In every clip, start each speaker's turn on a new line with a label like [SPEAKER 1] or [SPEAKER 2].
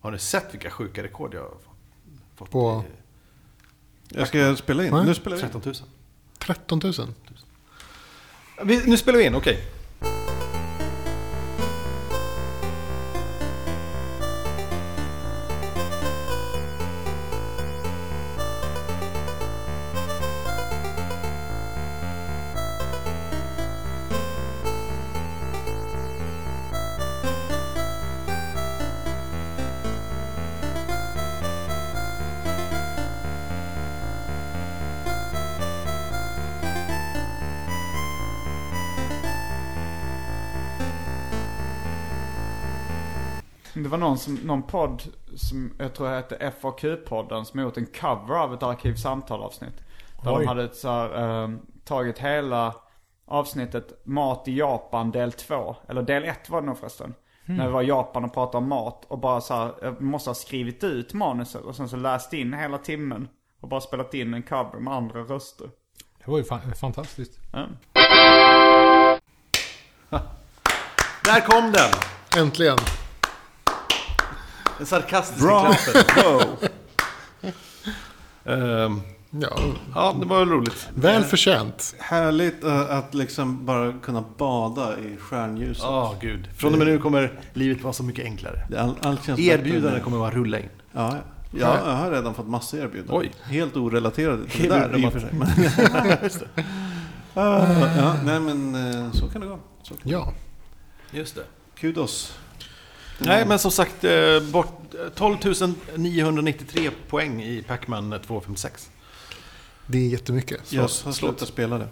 [SPEAKER 1] Har ni sett vilka sjuka rekord jag har fått?
[SPEAKER 2] På-
[SPEAKER 1] I
[SPEAKER 3] Jag ska spela in.
[SPEAKER 2] Nej.
[SPEAKER 3] Nu spelar vi.
[SPEAKER 1] 13 000.
[SPEAKER 2] 13 000.
[SPEAKER 1] Vi, nu spelar vi in, okej.
[SPEAKER 4] Det var någon, som, någon podd som jag tror hette FAQ-podden som gjort en cover av ett arkivsamtal-avsnitt. Där
[SPEAKER 2] Oj.
[SPEAKER 4] de hade ett så här, eh, tagit hela avsnittet Mat i Japan del 2. Eller del 1 var det nog förresten. När vi var i Japan och pratade om mat och bara så här, jag måste ha skrivit ut manuset och sen så läst in hela timmen. Och bara spelat in en cover med andra röster.
[SPEAKER 5] Det var ju fan, fantastiskt.
[SPEAKER 4] Mm.
[SPEAKER 1] Där kom den!
[SPEAKER 2] Äntligen.
[SPEAKER 1] Den sarkastiska
[SPEAKER 3] Bra.
[SPEAKER 1] klappen.
[SPEAKER 3] Ehm,
[SPEAKER 2] Ja,
[SPEAKER 1] Ja, det var väl roligt.
[SPEAKER 2] väl förtjänt.
[SPEAKER 3] härligt eh, att liksom bara kunna bada i stjärnljuset.
[SPEAKER 1] Ja, gud. Från och med nu kommer livet vara så mycket enklare.
[SPEAKER 3] Det- All, allt känns
[SPEAKER 1] Erbjudanden
[SPEAKER 3] bättre.
[SPEAKER 1] kommer att rulla in.
[SPEAKER 3] Ja, ja. ja, jag har redan fått massa erbjudanden.
[SPEAKER 1] Oj.
[SPEAKER 3] Helt orelaterade till det
[SPEAKER 1] Helt
[SPEAKER 3] där.
[SPEAKER 1] i
[SPEAKER 3] om
[SPEAKER 1] och
[SPEAKER 3] att-
[SPEAKER 1] för sig.
[SPEAKER 3] Men- Ah, ja, nej men eh, så kan det gå. Så.
[SPEAKER 2] Ja.
[SPEAKER 1] Just det.
[SPEAKER 3] Kudos.
[SPEAKER 1] Nej, men som sagt, eh, bort, eh, 12 993 poäng i Pac-Man 256.
[SPEAKER 2] Det är jättemycket.
[SPEAKER 3] Jag har
[SPEAKER 1] Slåss,
[SPEAKER 3] slutat
[SPEAKER 1] slåss.
[SPEAKER 3] spela det.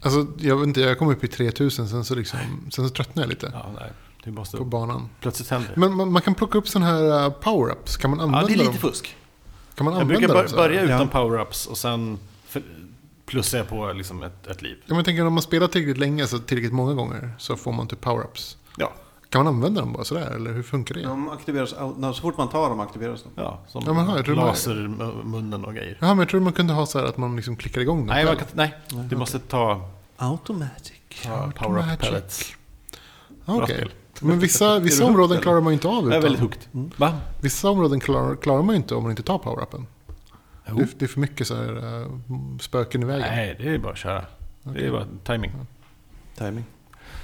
[SPEAKER 2] Alltså, jag vet inte, jag kom upp i 3000 sen så, liksom, sen så tröttnade jag lite
[SPEAKER 1] Ja, nej. Det måste...
[SPEAKER 2] på banan.
[SPEAKER 1] Plötsligt händer det.
[SPEAKER 2] Men man, man kan plocka upp sådana här eh, power-ups. Kan man använda
[SPEAKER 1] Ja, det är lite
[SPEAKER 2] dem?
[SPEAKER 1] fusk.
[SPEAKER 2] Kan man
[SPEAKER 1] Jag
[SPEAKER 2] använda
[SPEAKER 1] brukar
[SPEAKER 2] dem
[SPEAKER 1] bör-
[SPEAKER 2] så här?
[SPEAKER 1] börja
[SPEAKER 3] Ja.
[SPEAKER 1] utan power-ups och sen för- plussar jag på liksom ett, ett liv.
[SPEAKER 2] Ja, men jag tänker om man spelar tillräckligt länge, så tillräckligt många gånger, så får man typ power-ups.
[SPEAKER 1] Ja.
[SPEAKER 2] Kan man använda dem bara sådär, eller hur funkar det?
[SPEAKER 3] De aktiveras, au- när- så fort man tar dem aktiveras de.
[SPEAKER 1] Ja, som
[SPEAKER 2] Ja, men här, jag tror man-
[SPEAKER 1] lasermunnen och grejer.
[SPEAKER 2] Jaha, men jag tror man kunde ha så här att man liksom klickar igång dem.
[SPEAKER 1] Nej, man
[SPEAKER 2] själv.
[SPEAKER 1] kan, nej, du måste ta,
[SPEAKER 3] Automatic.
[SPEAKER 1] ta power-up pellets.
[SPEAKER 2] Ah,
[SPEAKER 1] Bra
[SPEAKER 2] okej.
[SPEAKER 1] spel.
[SPEAKER 2] Men vissa,
[SPEAKER 1] Är du
[SPEAKER 2] vissa
[SPEAKER 1] hooked,
[SPEAKER 2] områden
[SPEAKER 1] eller?
[SPEAKER 2] klarar man ju inte av
[SPEAKER 1] Jag är väldigt
[SPEAKER 2] utan.
[SPEAKER 1] hooked. Va?
[SPEAKER 2] Vissa områden klarar, klarar man ju inte om man inte tar power-upen.
[SPEAKER 1] Jo.
[SPEAKER 2] Det, är- det är för mycket så här, eh, spöken i vägen.
[SPEAKER 1] Nej, det är bara att köra. Det är bara timing.
[SPEAKER 3] Timing.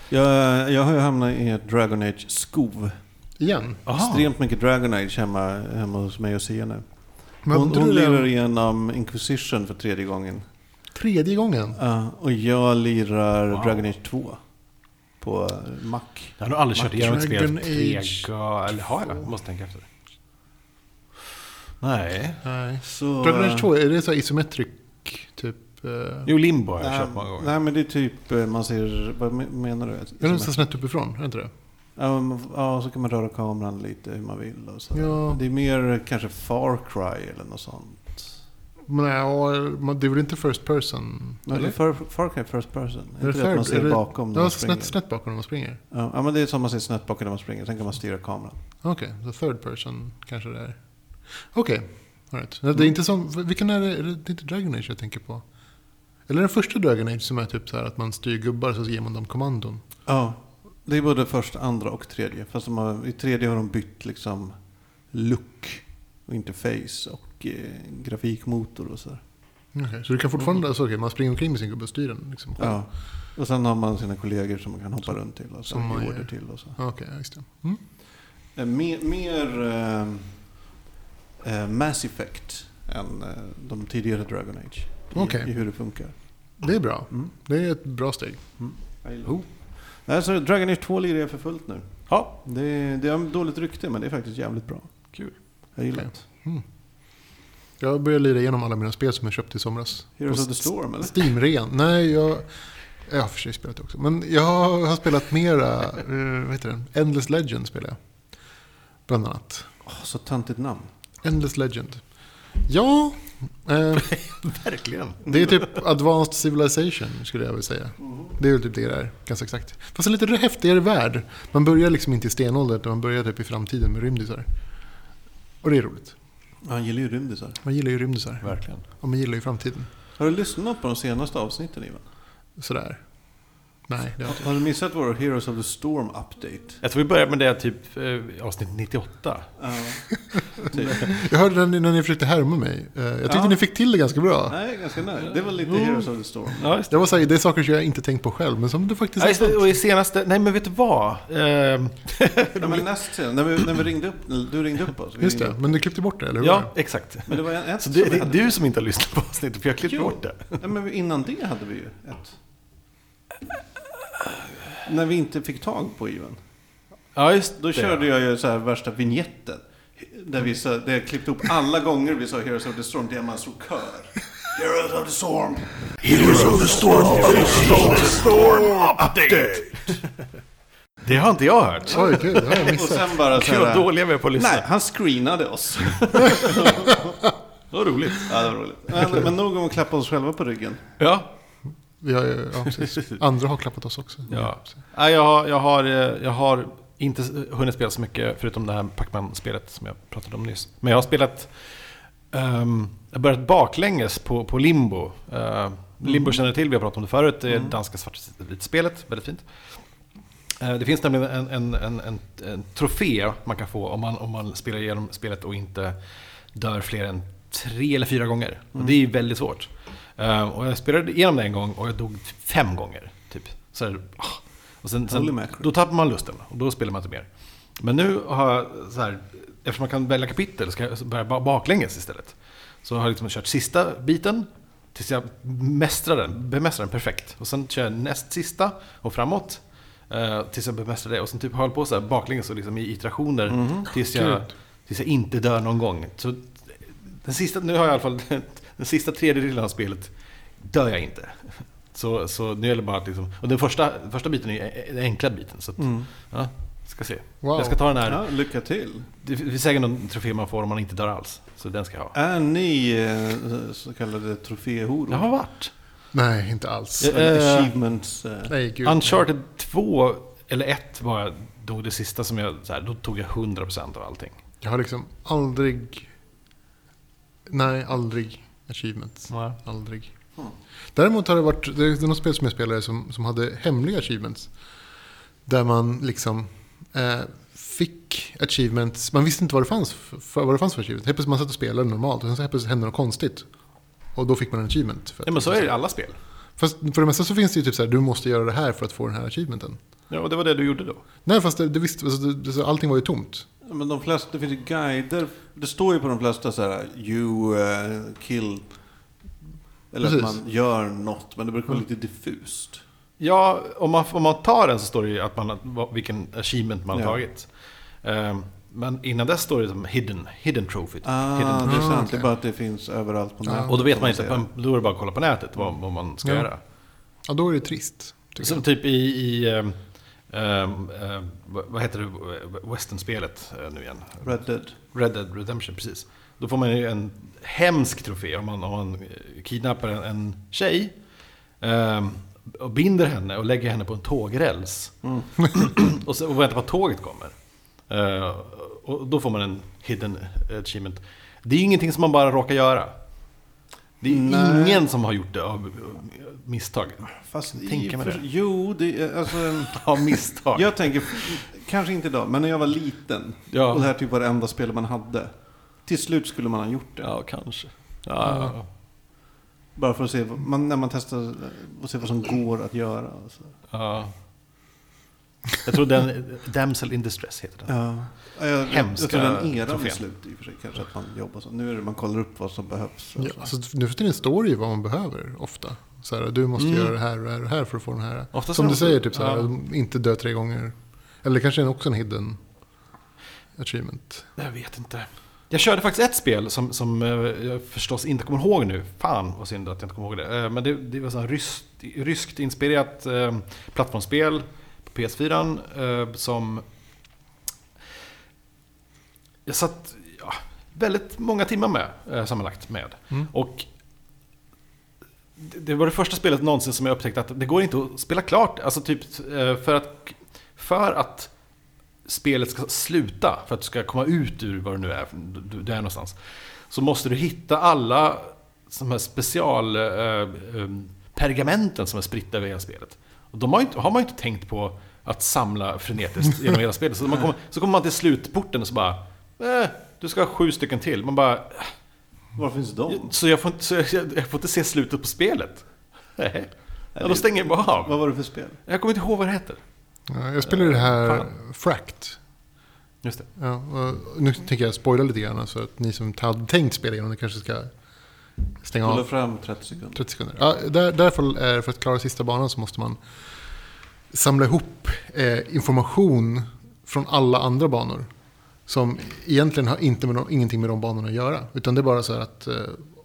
[SPEAKER 3] Jag, jag har ju hamnat i ett Dragon Age skov.
[SPEAKER 2] Igen.
[SPEAKER 3] Extremt mycket Dragon Age hemma, hemma hos mig och Sia nu.
[SPEAKER 2] Men
[SPEAKER 3] hon
[SPEAKER 2] du
[SPEAKER 3] hon lirar
[SPEAKER 2] lirar
[SPEAKER 3] igenom Inquisition för tredje gången.
[SPEAKER 2] tredje gången.
[SPEAKER 3] Ja, Eh, och jag lirar
[SPEAKER 1] Wow.
[SPEAKER 3] Dragon Age 2 på Mac.
[SPEAKER 1] Jag har nog aldrig kört igenom ett spel
[SPEAKER 2] Dragon
[SPEAKER 1] tre
[SPEAKER 2] Age
[SPEAKER 1] gånger. Eller har jag? Måste tänka efter. Nej.
[SPEAKER 2] Nej.
[SPEAKER 3] Så,
[SPEAKER 2] Dragon Age 2, är det så här isometric typ? eh,
[SPEAKER 1] Jo, Limbo har jag
[SPEAKER 3] Nej,
[SPEAKER 1] kört många gånger.
[SPEAKER 3] nej men det är typ, eh, man ser, vad me- menar du?
[SPEAKER 2] Är det någonstans snett uppifrån? Är det inte det?
[SPEAKER 3] Ja, men- ja, så kan man röra kameran lite hur man vill och så.
[SPEAKER 2] Ja.
[SPEAKER 3] Det är mer kanske Far Cry eller något sånt.
[SPEAKER 2] Men, eh, ja, man- det är väl inte first person?
[SPEAKER 3] Eller Far, Far Cry First Person.
[SPEAKER 2] Är
[SPEAKER 3] Är inte det att man
[SPEAKER 2] third- är
[SPEAKER 3] ser
[SPEAKER 2] det-
[SPEAKER 3] bakom när
[SPEAKER 2] Ja,
[SPEAKER 3] man
[SPEAKER 2] snett,
[SPEAKER 3] springer?
[SPEAKER 2] snett bakom när man springer.
[SPEAKER 3] Ja, ja, men det är som man ser snett bakom när man springer. Sen kan man styra kameran.
[SPEAKER 2] Okej, the third person kanske det är. Okej, all right.
[SPEAKER 3] Mm.
[SPEAKER 2] Det är inte som, vilken är det, är det, det är inte Dragon Age jag tänker på? Eller den första Dragon Age som är typ så här att man styr gubbar så ger man dem kommandon.
[SPEAKER 3] Ja, det är både första, andra och tredje. Fast de har, i tredje har de bytt liksom look och interface och eh, grafikmotor och sådär.
[SPEAKER 2] Okej, så du kan fortfarande, så okej, man springer omkring med sin gubbe och styr den liksom. själv.
[SPEAKER 3] Mm. Ja. Och sen har man sina kollegor som man kan hoppa runt till och så
[SPEAKER 2] som man
[SPEAKER 3] ge
[SPEAKER 2] gör.
[SPEAKER 3] order till och så.
[SPEAKER 2] Ja. Okej, ja, just det. Mm.
[SPEAKER 3] Eh, Mer, mer eh, eh, Mass Effect än eh, de tidigare Dragon Age. I,
[SPEAKER 2] Okej.
[SPEAKER 3] I hur det funkar.
[SPEAKER 2] Det är bra.
[SPEAKER 3] Mm.
[SPEAKER 2] Det är ett bra steg.
[SPEAKER 3] Oh. Nej, så Dragon Age 2 lirar jag för fullt nu.
[SPEAKER 1] Ja.
[SPEAKER 3] Det, det har dåligt rykte men det är faktiskt jävligt bra.
[SPEAKER 1] Kul.
[SPEAKER 3] Jag gillar
[SPEAKER 2] Okej.
[SPEAKER 3] det.
[SPEAKER 2] Jag börjar lira igenom alla mina spel som jag köpte i somras.
[SPEAKER 3] Heroes
[SPEAKER 2] På
[SPEAKER 3] of the Storm eller?
[SPEAKER 2] Steam-rean? Nej, jag... Jag har för sig spelat det också. Men jag har spelat mera... eh, vad heter den? Endless Legend spelar jag. Bland annat.
[SPEAKER 3] Åh, så töntigt namn.
[SPEAKER 2] Endless Legend. Ja, eh,
[SPEAKER 1] Verkligen.
[SPEAKER 2] det är typ Advanced Civilization skulle jag vilja säga.
[SPEAKER 1] Mhm.
[SPEAKER 2] Det är väl typ det det är, ganska exakt. Fast en lite häftigare värld. Man börjar liksom inte i stenåldern, utan man börjar typ i framtiden med rymdisar. Och det är roligt.
[SPEAKER 3] Han gillar ju rymdisar.
[SPEAKER 2] Man gillar ju rymdisar.
[SPEAKER 1] Verkligen.
[SPEAKER 2] Och man gillar ju framtiden.
[SPEAKER 3] Har du lyssnat på de senaste avsnitten Ivan?
[SPEAKER 2] Sådär. Nej, det har jag inte.
[SPEAKER 3] Har du missat vår Heroes of the Storm update?
[SPEAKER 1] Jag tror vi börjar med det typ eh, avsnitt 98.
[SPEAKER 3] Typ.
[SPEAKER 2] Jag hörde den när ni försökte härma mig. Eh, Jag tyckte
[SPEAKER 3] Ja.
[SPEAKER 2] ni fick till det ganska bra.
[SPEAKER 3] Nej, ganska nice. Det var lite Heroes of the Storm.
[SPEAKER 1] Ja, just det.
[SPEAKER 2] Det, var så här, det är saker som jag inte tänkt på själv, men som det faktiskt
[SPEAKER 1] Ja,
[SPEAKER 2] är
[SPEAKER 1] just det.
[SPEAKER 2] sant.
[SPEAKER 1] Och i senaste... Nej, men vet du vad? Eh,
[SPEAKER 3] Ja, men näst sen, när vi, när vi ringde upp, du ringde upp oss. vi
[SPEAKER 2] Just
[SPEAKER 3] ringde
[SPEAKER 2] det,
[SPEAKER 3] upp.
[SPEAKER 2] men du klippte bort det, eller hur? var
[SPEAKER 1] ja,
[SPEAKER 2] det?
[SPEAKER 1] exakt.
[SPEAKER 3] Men det var en, ett
[SPEAKER 1] Så
[SPEAKER 3] som
[SPEAKER 1] det,
[SPEAKER 3] vi
[SPEAKER 1] det är
[SPEAKER 3] hade.
[SPEAKER 1] du som inte har lyssnat på avsnittet, för jag klippte
[SPEAKER 3] Jo.
[SPEAKER 1] bort det.
[SPEAKER 3] Nej, men innan det hade vi ju ett. När vi inte fick tag på Ivan.
[SPEAKER 1] Ja, just
[SPEAKER 3] Då körde jag ju så här värsta vignetten. Där, vi, sa- där jag klippte upp alla gånger vi sa Heroes of the Storm, där man slog kör. Heroes of the Storm!
[SPEAKER 1] Det har inte jag hört.
[SPEAKER 2] Oj, gud, det har jag
[SPEAKER 3] Och
[SPEAKER 2] missat.
[SPEAKER 3] sen bara så
[SPEAKER 1] Gud vad
[SPEAKER 3] här.
[SPEAKER 1] dåliga vi är på att lyssna.
[SPEAKER 3] Nej, han screenade oss.
[SPEAKER 1] Vad roligt.
[SPEAKER 3] Ja, det var roligt. Men, men nog om att klappa oss själva på ryggen.
[SPEAKER 1] Ja.
[SPEAKER 2] Vi har, ju- ja, precis. Andra har klappat oss också.
[SPEAKER 1] ja. Nej, jag, har, jag, har, eh, jag har inte hunnit spela så mycket förutom det här Pac-Man-spelet som jag pratade om nyss. Men jag har spelat... ehm, jag har börjat baklänges på, på Limbo. Eh, Limbo känner du till, vi har pratat om det förut. Det är danska svartvitspelet, väldigt fint. Eh, Det finns nämligen en, en, en, en, en trofé man kan få om man, om man spelar igenom spelet och inte dör fler än tre eller fyra gånger.
[SPEAKER 3] Mm.
[SPEAKER 1] Och det är ju väldigt svårt. Eh, Och jag spelade igenom det en gång och jag dog typ fem gånger. Typ. Så här, ah. och sen,
[SPEAKER 3] Holy
[SPEAKER 1] sen,
[SPEAKER 3] mackerel.
[SPEAKER 1] då tappar man lusten och då spelar man inte mer. Men nu har jag så här, eftersom man kan välja kapitel ska jag börja ba- baklänges istället. Så har jag liksom kört sista biten tills jag mästrar den, bemästrar den perfekt. Och sen kör jag näst sista och framåt. eh, tills jag bemästrar det. Och sen typ håller på så här baklänges och liksom i iterationer tills, jag, tills jag inte dör någon gång. Så den sista, nu har jag i alla fall den sista tredjedelen av spelet dör jag inte. Så, så nu gäller det bara att liksom, och den första, första biten är ju den enkla biten. Så att, ja, ska se.
[SPEAKER 2] Wow.
[SPEAKER 1] Jag ska ta den här
[SPEAKER 3] Ja, lycka till.
[SPEAKER 1] det finns säkert någon trofé man får om man inte dör alls. Så den ska jag ha.
[SPEAKER 3] Är ni eh, så kallade troféhoror?
[SPEAKER 1] Jag har varit.
[SPEAKER 2] Nej, inte alls.
[SPEAKER 1] Ja.
[SPEAKER 3] Eller
[SPEAKER 1] Eh,
[SPEAKER 3] Achievements... eh,
[SPEAKER 2] Nej, gud.
[SPEAKER 1] Uncharted 2 eller 1 var jag då det sista som jag... Så här, då tog jag 100% av allting.
[SPEAKER 2] Jag har liksom aldrig... Nej, aldrig achievements. Aldrig.
[SPEAKER 1] Hm.
[SPEAKER 2] Däremot har det varit, det är något spel som jag spelade som, som hade hemliga achievements. Där man liksom eh, fick achievements, man visste inte vad det fanns för, för- vad det fanns för achievements. Helt plötsligt man satt och spelade normalt och sen så helt plötsligt hände något konstigt. Och då fick man en achievement. För
[SPEAKER 1] Nej men så är det i alla spel.
[SPEAKER 2] Fast för det mesta så finns det ju typ så här, du måste göra det här för att få den här achievementen.
[SPEAKER 1] Ja, och det var det du gjorde då.
[SPEAKER 2] Nej, fast det, det visste, alltså, det, det, så allting var ju tomt.
[SPEAKER 3] Ja, Men de flesta, det finns ju guider. Det står ju på de flesta så här, you eh, kill. Eller att
[SPEAKER 2] Precis.
[SPEAKER 3] man gör något, men det brukar vara lite diffust.
[SPEAKER 1] Ja, om man, om man tar den så står det ju att man, vad- vilken achievement man har
[SPEAKER 3] Ja.
[SPEAKER 1] tagit. Ehm, men innan dess står det som hidden, hidden trophy.
[SPEAKER 3] Ah, det
[SPEAKER 1] hidden
[SPEAKER 3] är sant.
[SPEAKER 2] okej.
[SPEAKER 3] Det är bara att det finns överallt på nätet.
[SPEAKER 1] Och då vet
[SPEAKER 3] kan
[SPEAKER 1] man inte,
[SPEAKER 3] säga.
[SPEAKER 1] man- då är det bara att kolla på nätet vad, vad man ska
[SPEAKER 2] Ja.
[SPEAKER 1] göra.
[SPEAKER 2] Ja, då är det trist. tycker
[SPEAKER 1] Som typ i, i ehm, ehm, ehm, vad vad heter det, westernspelet eh, nu igen?
[SPEAKER 3] Red Dead.
[SPEAKER 1] Red Dead Redemption, precis. Då får man ju en hemsk trofé om man, om man eh, kidnappar en, en tjej ehm, och binder henne och lägger henne på en tågräls. och, så, och väntar på att tåget kommer. Eh, och då får man en hidden achievement. Det är ju ingenting som man bara råkar göra. Det är
[SPEAKER 3] Nej.
[SPEAKER 1] ingen som har gjort det av eh, misstag.
[SPEAKER 3] Fast i-
[SPEAKER 1] Tänker man det?
[SPEAKER 3] Jo, det är, alltså,
[SPEAKER 1] Av misstag.
[SPEAKER 3] jag tänker, kanske inte idag, men när jag var liten.
[SPEAKER 1] Ja.
[SPEAKER 3] Och det här typ var det enda spelet man hade. Till slut skulle man ha gjort det.
[SPEAKER 1] Ja, kanske. Ja, ja, ja.
[SPEAKER 3] Bara för att se, vad- man, när man testar eh, och se vad som går att göra. och så.
[SPEAKER 1] ja. Jag tror den, Damsel in Distress heter den.
[SPEAKER 3] Ja. Jag, jag,
[SPEAKER 1] Hemska
[SPEAKER 3] jag tror den eran är
[SPEAKER 1] trofén.
[SPEAKER 3] slut i och för sig. Kanske att man jobbar så. Nu är det man kollar upp vad som behövs. och
[SPEAKER 2] Ja,
[SPEAKER 3] så.
[SPEAKER 2] alltså, nu för tiden står det ju vad man behöver ofta. Så här, du måste göra det här och det här och det här för att få den här.
[SPEAKER 1] Oftast
[SPEAKER 2] Som
[SPEAKER 1] är
[SPEAKER 2] du
[SPEAKER 1] det
[SPEAKER 2] säger,
[SPEAKER 1] också-
[SPEAKER 2] typ Mm. så här, inte dö tre gånger. Eller kanske är det också en hidden achievement.
[SPEAKER 1] Jag vet inte. Jag körde faktiskt ett spel som, som eh, jag förstås inte kommer ihåg nu. Fan vad synd att jag inte kommer ihåg det. Eh, Men det, det var sånt ryskt, ryskt inspirerat eh, plattformsspel på PS4 eh, som... Jag satt ja, väldigt många timmar med, eh, sammanlagt med. Och det- det var det första spelet någonsin som jag upptäckte att det går inte att spela klart. Alltså typ eh, för att, för att spelet ska sluta, för att du ska komma ut ur vad du nu är, du, du är någonstans. Så måste du hitta alla de här special eh, eh, pergamenten som är spridda över hela spelet. Och de har, ju inte, har man ju inte tänkt på att samla frenetiskt genom hela spelet. Så, man kommer, så kommer man till slutporten och så bara... Eh, du ska ha sju stycken till. Man bara... "Eh,
[SPEAKER 3] Var finns de?
[SPEAKER 1] Så jag får inte, så jag, jag får inte se slutet på spelet? Nej. Ja, då stänger jag bara
[SPEAKER 3] Vad
[SPEAKER 1] av.
[SPEAKER 3] var det för spel?
[SPEAKER 1] Jag kommer inte ihåg vad det heter.
[SPEAKER 2] Ja, jag spelade det här Fract.
[SPEAKER 1] Just det.
[SPEAKER 2] Ja, och nu tänker jag spoila lite grann så att ni som hade tänkt spela igenom det kanske ska stänga
[SPEAKER 3] Hålla
[SPEAKER 2] av.
[SPEAKER 3] fram 30 sekunder.
[SPEAKER 2] 30 sekunder. Ja, där, därför är det för att klara sista banan så måste man samla ihop eh, information från alla andra banor. Som egentligen har inte med de, ingenting med de banorna att göra. Utan det är bara så här att eh,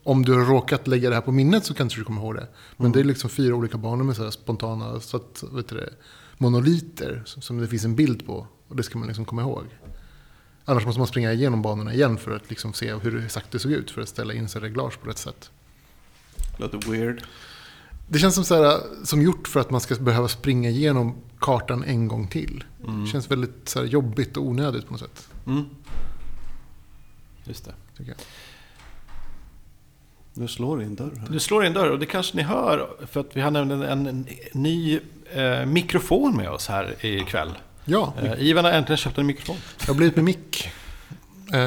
[SPEAKER 2] om du har råkat lägga det här på minnet så kanske du kommer ihåg det. Men det är liksom fyra olika banor med så här spontana så att, vet du det, monoliter som, som det finns en bild på. Och det ska man liksom komma ihåg. Annars måste man springa igenom banorna igen för att liksom se hur det exakt det såg ut. För att ställa in sin reglage på rätt sätt.
[SPEAKER 3] Låter weird.
[SPEAKER 2] Det känns som, så här, som gjort för att man ska behöva springa igenom kartan en gång till.
[SPEAKER 3] Mm.
[SPEAKER 2] Det känns väldigt så här, jobbigt och onödigt på något sätt.
[SPEAKER 1] Mm. Just det.
[SPEAKER 2] Tycker jag.
[SPEAKER 3] Nu slår det i en dörr här.
[SPEAKER 1] Nu slår det en dörr och det kanske ni hör för att vi har nämligen en, en ny eh, mikrofon med oss här ikväll.
[SPEAKER 2] Ja,
[SPEAKER 1] Eh, Ivan har äntligen köpt en mikrofon.
[SPEAKER 2] jag har blivit med mick. Eh,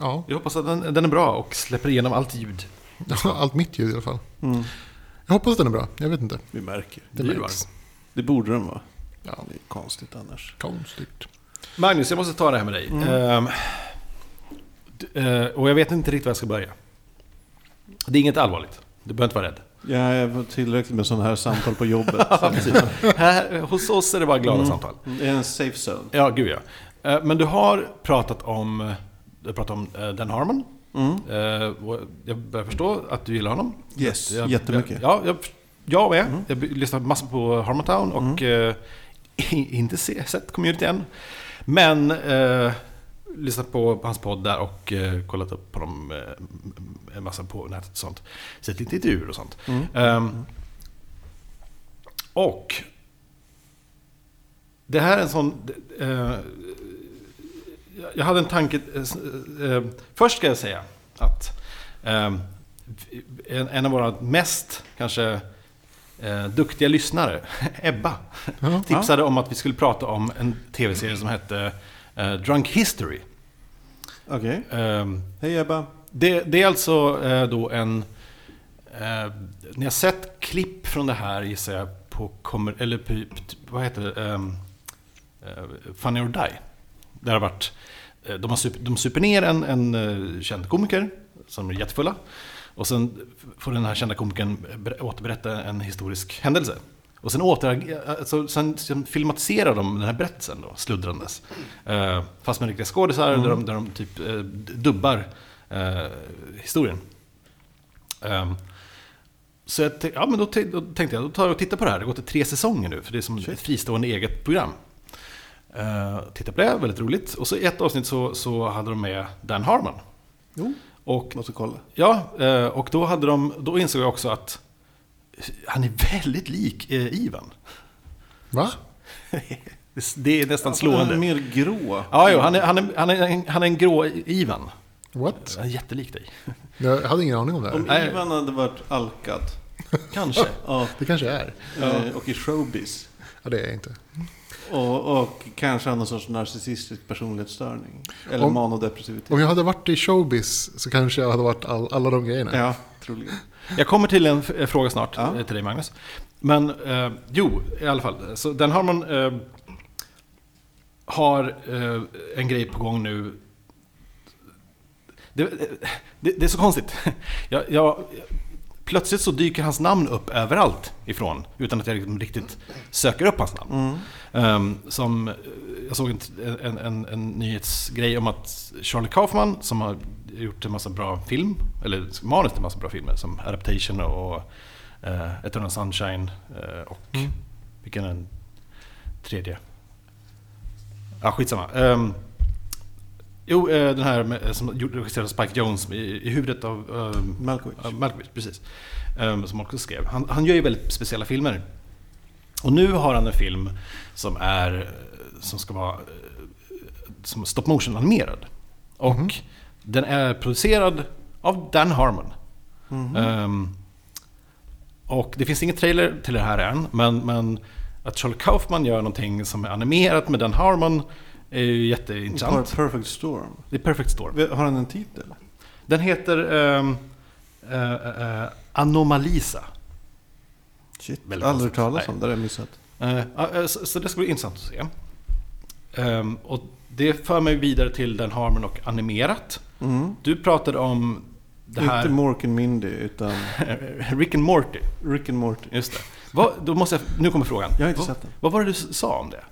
[SPEAKER 2] ja,
[SPEAKER 1] Vi hoppas att den, den är bra och släpper igenom allt ljud.
[SPEAKER 2] allt mitt ljud i alla fall.
[SPEAKER 3] Mm.
[SPEAKER 2] Jag hoppas den är bra, jag vet inte.
[SPEAKER 3] Vi märker.
[SPEAKER 2] Det
[SPEAKER 1] Ljud,
[SPEAKER 2] märks.
[SPEAKER 3] Det borde den vara.
[SPEAKER 2] Ja,
[SPEAKER 3] Det är konstigt annars.
[SPEAKER 2] konstigt.
[SPEAKER 1] Magnus, jag måste ta det här med dig.
[SPEAKER 2] Mm.
[SPEAKER 1] Ehm, d- eh, och jag vet inte riktigt var jag ska börja. Det är inget allvarligt. Du behöver inte vara rädd.
[SPEAKER 3] Ja, jag har tillräckligt med sådana här samtal på jobbet.
[SPEAKER 1] Här, hos oss är det bara glada
[SPEAKER 2] Mm.
[SPEAKER 1] samtal.
[SPEAKER 3] det är en safe zone.
[SPEAKER 1] Ja, gud ja. Eh, Men du har pratat om, du har pratat om eh, Dan Harmon.
[SPEAKER 2] Mm.
[SPEAKER 1] Eh, och Jag börjar förstå att du gillar honom.
[SPEAKER 3] Yes,
[SPEAKER 1] Jag,
[SPEAKER 3] jättemycket.
[SPEAKER 1] Jag, ja, jag, jag med. Jag by- lyssnar massor på Harmontown och eh, inte se, sett community än. Men eh, lyssnat på hans podd där och eh, kollat upp på dem eh, m- en massa på nätet och sånt. Sett lite intervjuer och sånt. Ehm, och det här är en sån... Eh, jag hade en tanke... Eh, eh, först ska jag säga att eh, en, en av våra mest kanske eh, duktiga lyssnare, Ebba,
[SPEAKER 2] Ja.
[SPEAKER 1] tipsade om att vi skulle prata om en tv-serie som hette eh, Drunk History.
[SPEAKER 3] Okej.
[SPEAKER 1] Eh,
[SPEAKER 3] Hej Ebba.
[SPEAKER 1] det, det är alltså eh, då en... Eh, ni har sett klipp från det här gissar jag på... Kommer, eller på, vad heter det? Ehm, eh, Funny or Die. Det har varit... eh, De, har super, de super ner en, en eh, känd komiker som är jättefulla. Och sen får den här kända komikern ber- återberätta en historisk händelse. Och sen, åter, alltså, sen, sen filmatiserar de den här berättelsen då, sluddrandes. Eh, fast med riktiga skådisar där, de, där de typ eh, dubbar eh, historien. Ehm, så jag tänk, ja, men då, t- då tänkte jag, då tar jag och tittar på det här. Det har gått tre säsonger nu, för det är som ett fristående eget program. Eh, titta på det, väldigt roligt. Och så i ett avsnitt så, så hade de med Dan Harmon.
[SPEAKER 3] Jo,
[SPEAKER 1] Och,
[SPEAKER 3] måste kolla.
[SPEAKER 1] ja, eh, och då, hade de, då insåg jag också att han är väldigt lik eh, Ivan.
[SPEAKER 2] Va?
[SPEAKER 1] Det- Det är nästan
[SPEAKER 3] Han är
[SPEAKER 1] slående.
[SPEAKER 3] mer grå.
[SPEAKER 1] Ja, jo, han, är, han, är, han, är, en- han är en grå Ivan.
[SPEAKER 2] What?
[SPEAKER 1] Han är jättelik dig.
[SPEAKER 2] Jag hade ingen aning om det
[SPEAKER 3] Eh. Om
[SPEAKER 2] här.
[SPEAKER 1] Nej.
[SPEAKER 3] Ivan hade varit alkad
[SPEAKER 1] Kanske.
[SPEAKER 3] ja,
[SPEAKER 2] Det kanske jag är.
[SPEAKER 3] eh, och i showbiz.
[SPEAKER 2] Ja, det är jag inte.
[SPEAKER 3] Och, och kanske har någon sorts narcissistisk personlighetsstörning. Eller
[SPEAKER 2] Om-
[SPEAKER 3] manodepressivitet.
[SPEAKER 2] Om jag hade varit i showbiz så kanske jag hade varit all, alla de grejerna.
[SPEAKER 3] Ja, troligen.
[SPEAKER 1] Jag kommer till en f- eh, fråga snart
[SPEAKER 3] Ja.
[SPEAKER 1] eh, till dig Magnus. Men eh, jo, i alla fall. Så den har man... Eh, har eh, en grej på gång nu. Det, det, det är så konstigt. Jag, jag, plötsligt så dyker hans namn upp överallt ifrån. Utan att jag liksom riktigt söker upp hans namn. Ehm, som, eh, jag såg en, en, en, en nyhetsgrej om att Charlie Kaufman, som har gjort en massa bra film, eller manus till en massa bra filmer, som Adaptation och uh, Eternal Sunshine eh, och vilken är den tredje? Ja, skitsamma. Ehm, jo, eh, den här med, som gjorde- regisserades av Spike Jones i, i huvudet av ehm,
[SPEAKER 3] Malkovich.
[SPEAKER 1] Ja, Malkovich, precis. Ehm, som också skrev. Han, han gör ju väldigt speciella filmer. Och nu har han en film som är, eh, som ska vara, eh, som stop motion animerad. Och den är producerad av Dan Harmon. Ehm, och det finns ingen trailer till det här än, men, men Att Charlie Kaufman gör någonting som är animerat med Dan Harmon är ju
[SPEAKER 3] Per-
[SPEAKER 1] jätteintressant.
[SPEAKER 3] Perfect Storm.
[SPEAKER 1] Det är Perfect Storm.
[SPEAKER 3] Vi- Har den en titel?
[SPEAKER 1] Den heter ehm, eh, eh, Anomalisa.
[SPEAKER 3] Shit,
[SPEAKER 1] Väldigt
[SPEAKER 3] aldrig
[SPEAKER 1] konstigt.
[SPEAKER 3] hört talas
[SPEAKER 1] Nej.
[SPEAKER 3] om. Det har jag missat.
[SPEAKER 1] Eh, ja, eh, så, så det ska bli intressant att se. Ehm, och det för mig vidare till Dan Harmon och animerat.
[SPEAKER 3] Mm.
[SPEAKER 1] Du pratade om det
[SPEAKER 3] Inte
[SPEAKER 1] här...
[SPEAKER 3] Mork and Mindy, utan
[SPEAKER 1] Rick and Morty.
[SPEAKER 3] Rick and Morty.
[SPEAKER 1] Just det. Vad, då måste jag, nu kommer frågan.
[SPEAKER 3] Jag har inte
[SPEAKER 1] vad,
[SPEAKER 3] sett den.
[SPEAKER 1] vad var det du s- sa om det?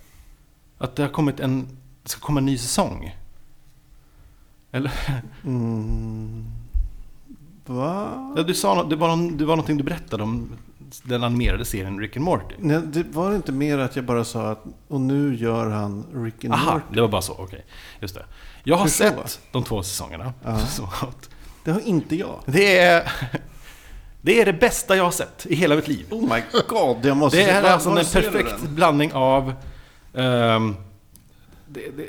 [SPEAKER 1] Att det har kommit en... Det ska komma en ny säsong? Eller?
[SPEAKER 3] Mm. Va?
[SPEAKER 1] Ja, du sa nå- det, var någon, det var någonting du berättade om den animerade serien Rick and Morty.
[SPEAKER 3] Nej, det var inte mer att jag bara sa att och nu gör han Rick and
[SPEAKER 1] Aha,
[SPEAKER 3] Morty.
[SPEAKER 1] det var bara så. Okej. Just det. Jag har
[SPEAKER 3] Hur så?
[SPEAKER 1] sett de två säsongerna.
[SPEAKER 3] Ja.
[SPEAKER 1] som har gått.
[SPEAKER 3] Det har inte jag.
[SPEAKER 1] Det är... Det är det bästa jag har sett i hela mitt liv.
[SPEAKER 3] Oh my god, jag måste...
[SPEAKER 1] Det är
[SPEAKER 3] Var-
[SPEAKER 1] alltså
[SPEAKER 3] var
[SPEAKER 1] en
[SPEAKER 3] ser du
[SPEAKER 1] perfekt
[SPEAKER 3] den?
[SPEAKER 1] blandning av... ehm, det, det,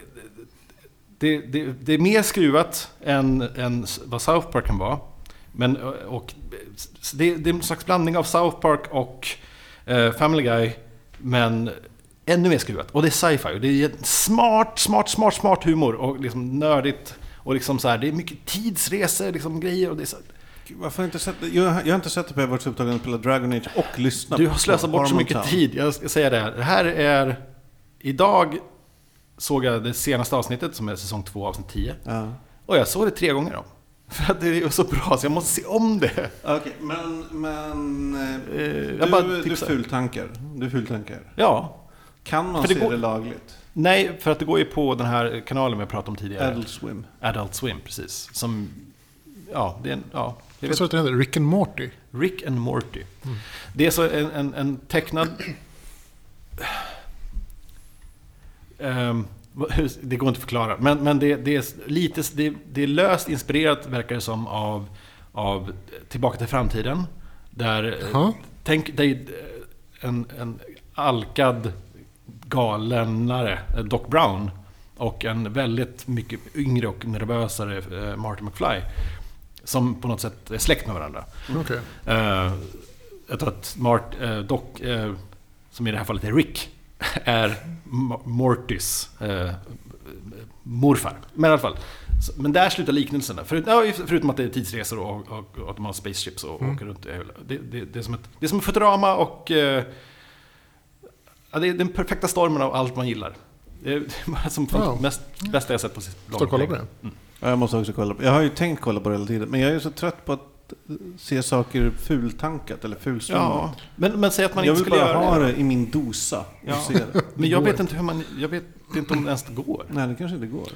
[SPEAKER 1] det, det, det, det är mer skruvat än, än vad South Park kan vara. Men, eh, och, s- det, det är en slags blandning av South Park och eh, Family Guy. Men ännu mer skruvat. Och det är sci-fi. Och det är smart, smart, smart, smart humor. Och liksom nördigt. Och liksom så här, det är mycket tidsresor, liksom grejer. Och det är så
[SPEAKER 3] Gud, Varför har jag inte sett det? Jag, har- jag har inte sett det för jag har varit så upptagen med att spela Dragon Age och lyssna
[SPEAKER 1] Du
[SPEAKER 3] på
[SPEAKER 1] har slösat bort så
[SPEAKER 3] Harmon
[SPEAKER 1] mycket
[SPEAKER 3] Town.
[SPEAKER 1] tid. Jag ska säga det. här. Det här är... Idag såg jag det senaste avsnittet som är säsong 2, avsnitt 10.
[SPEAKER 3] Ja.
[SPEAKER 1] Och jag såg det tre gånger om. För att det är så bra så jag måste se om det.
[SPEAKER 3] Okej, men... men eh,
[SPEAKER 1] Eh, Jag bara
[SPEAKER 3] du, du
[SPEAKER 1] tipsar.
[SPEAKER 3] fultankar. Du fultankar.
[SPEAKER 1] Ja.
[SPEAKER 3] Kan man
[SPEAKER 1] För det
[SPEAKER 3] se
[SPEAKER 1] går-
[SPEAKER 3] det lagligt?
[SPEAKER 1] Nej, för att det går ju på den här kanalen vi pratade om tidigare.
[SPEAKER 3] Adult Swim.
[SPEAKER 1] Adult Swim, precis. Som... Ja, det är en... Ja, jag
[SPEAKER 2] Jag
[SPEAKER 1] vet
[SPEAKER 2] sa att den heter Rick and Morty.
[SPEAKER 1] Rick and Morty. Det är så en, en, en tecknad... Ehm, vad- hur- det går inte att förklara. Men, men det, det, är lite, det, det är löst inspirerat, verkar det som, av, av Tillbaka till framtiden. Där, eh,
[SPEAKER 2] Jaha.
[SPEAKER 1] tänk dig eh, en, en alkad galenare, eh, Doc Brown, och en väldigt mycket yngre och nervösare eh, Marty McFly. Som på något sätt är släkt med varandra.
[SPEAKER 3] Mm.
[SPEAKER 2] Okej.
[SPEAKER 1] Eh, jag tror att Mart, eh, Doc, eh, som i det här fallet är Rick, är M- Mortys eh, morfar. Men i alla fall. så- Men där slutar liknelserna. Förut, ja, förutom att det är tidsresor och, och, och att de har spaceships och
[SPEAKER 2] Mm.
[SPEAKER 1] åker runt. i hela- Det, det, det, är som ett, det är som ett Futurama och... Eh, ja, det är den perfekta stormen av allt man gillar. Det är som
[SPEAKER 2] Wow.
[SPEAKER 1] mest, bästa jag sett på sitt
[SPEAKER 2] Ska kolla på det.
[SPEAKER 3] Ja, jag måste också kolla på Jag har ju tänkt kolla på det hela tiden. Men jag är så trött på att eh, se saker fultankat eller
[SPEAKER 1] Ja,
[SPEAKER 3] fulstummat.
[SPEAKER 1] men, men säg att man
[SPEAKER 3] jag
[SPEAKER 1] inte
[SPEAKER 3] vill
[SPEAKER 1] skulle
[SPEAKER 3] bara
[SPEAKER 1] göra
[SPEAKER 3] ha
[SPEAKER 1] det.
[SPEAKER 3] det i min dosa.
[SPEAKER 1] Ja.
[SPEAKER 3] Ja. Se det.
[SPEAKER 1] Men jag
[SPEAKER 2] Det går
[SPEAKER 1] vet inte hur man... Jag vet inte om det ens går.
[SPEAKER 3] Nej, det kanske inte går.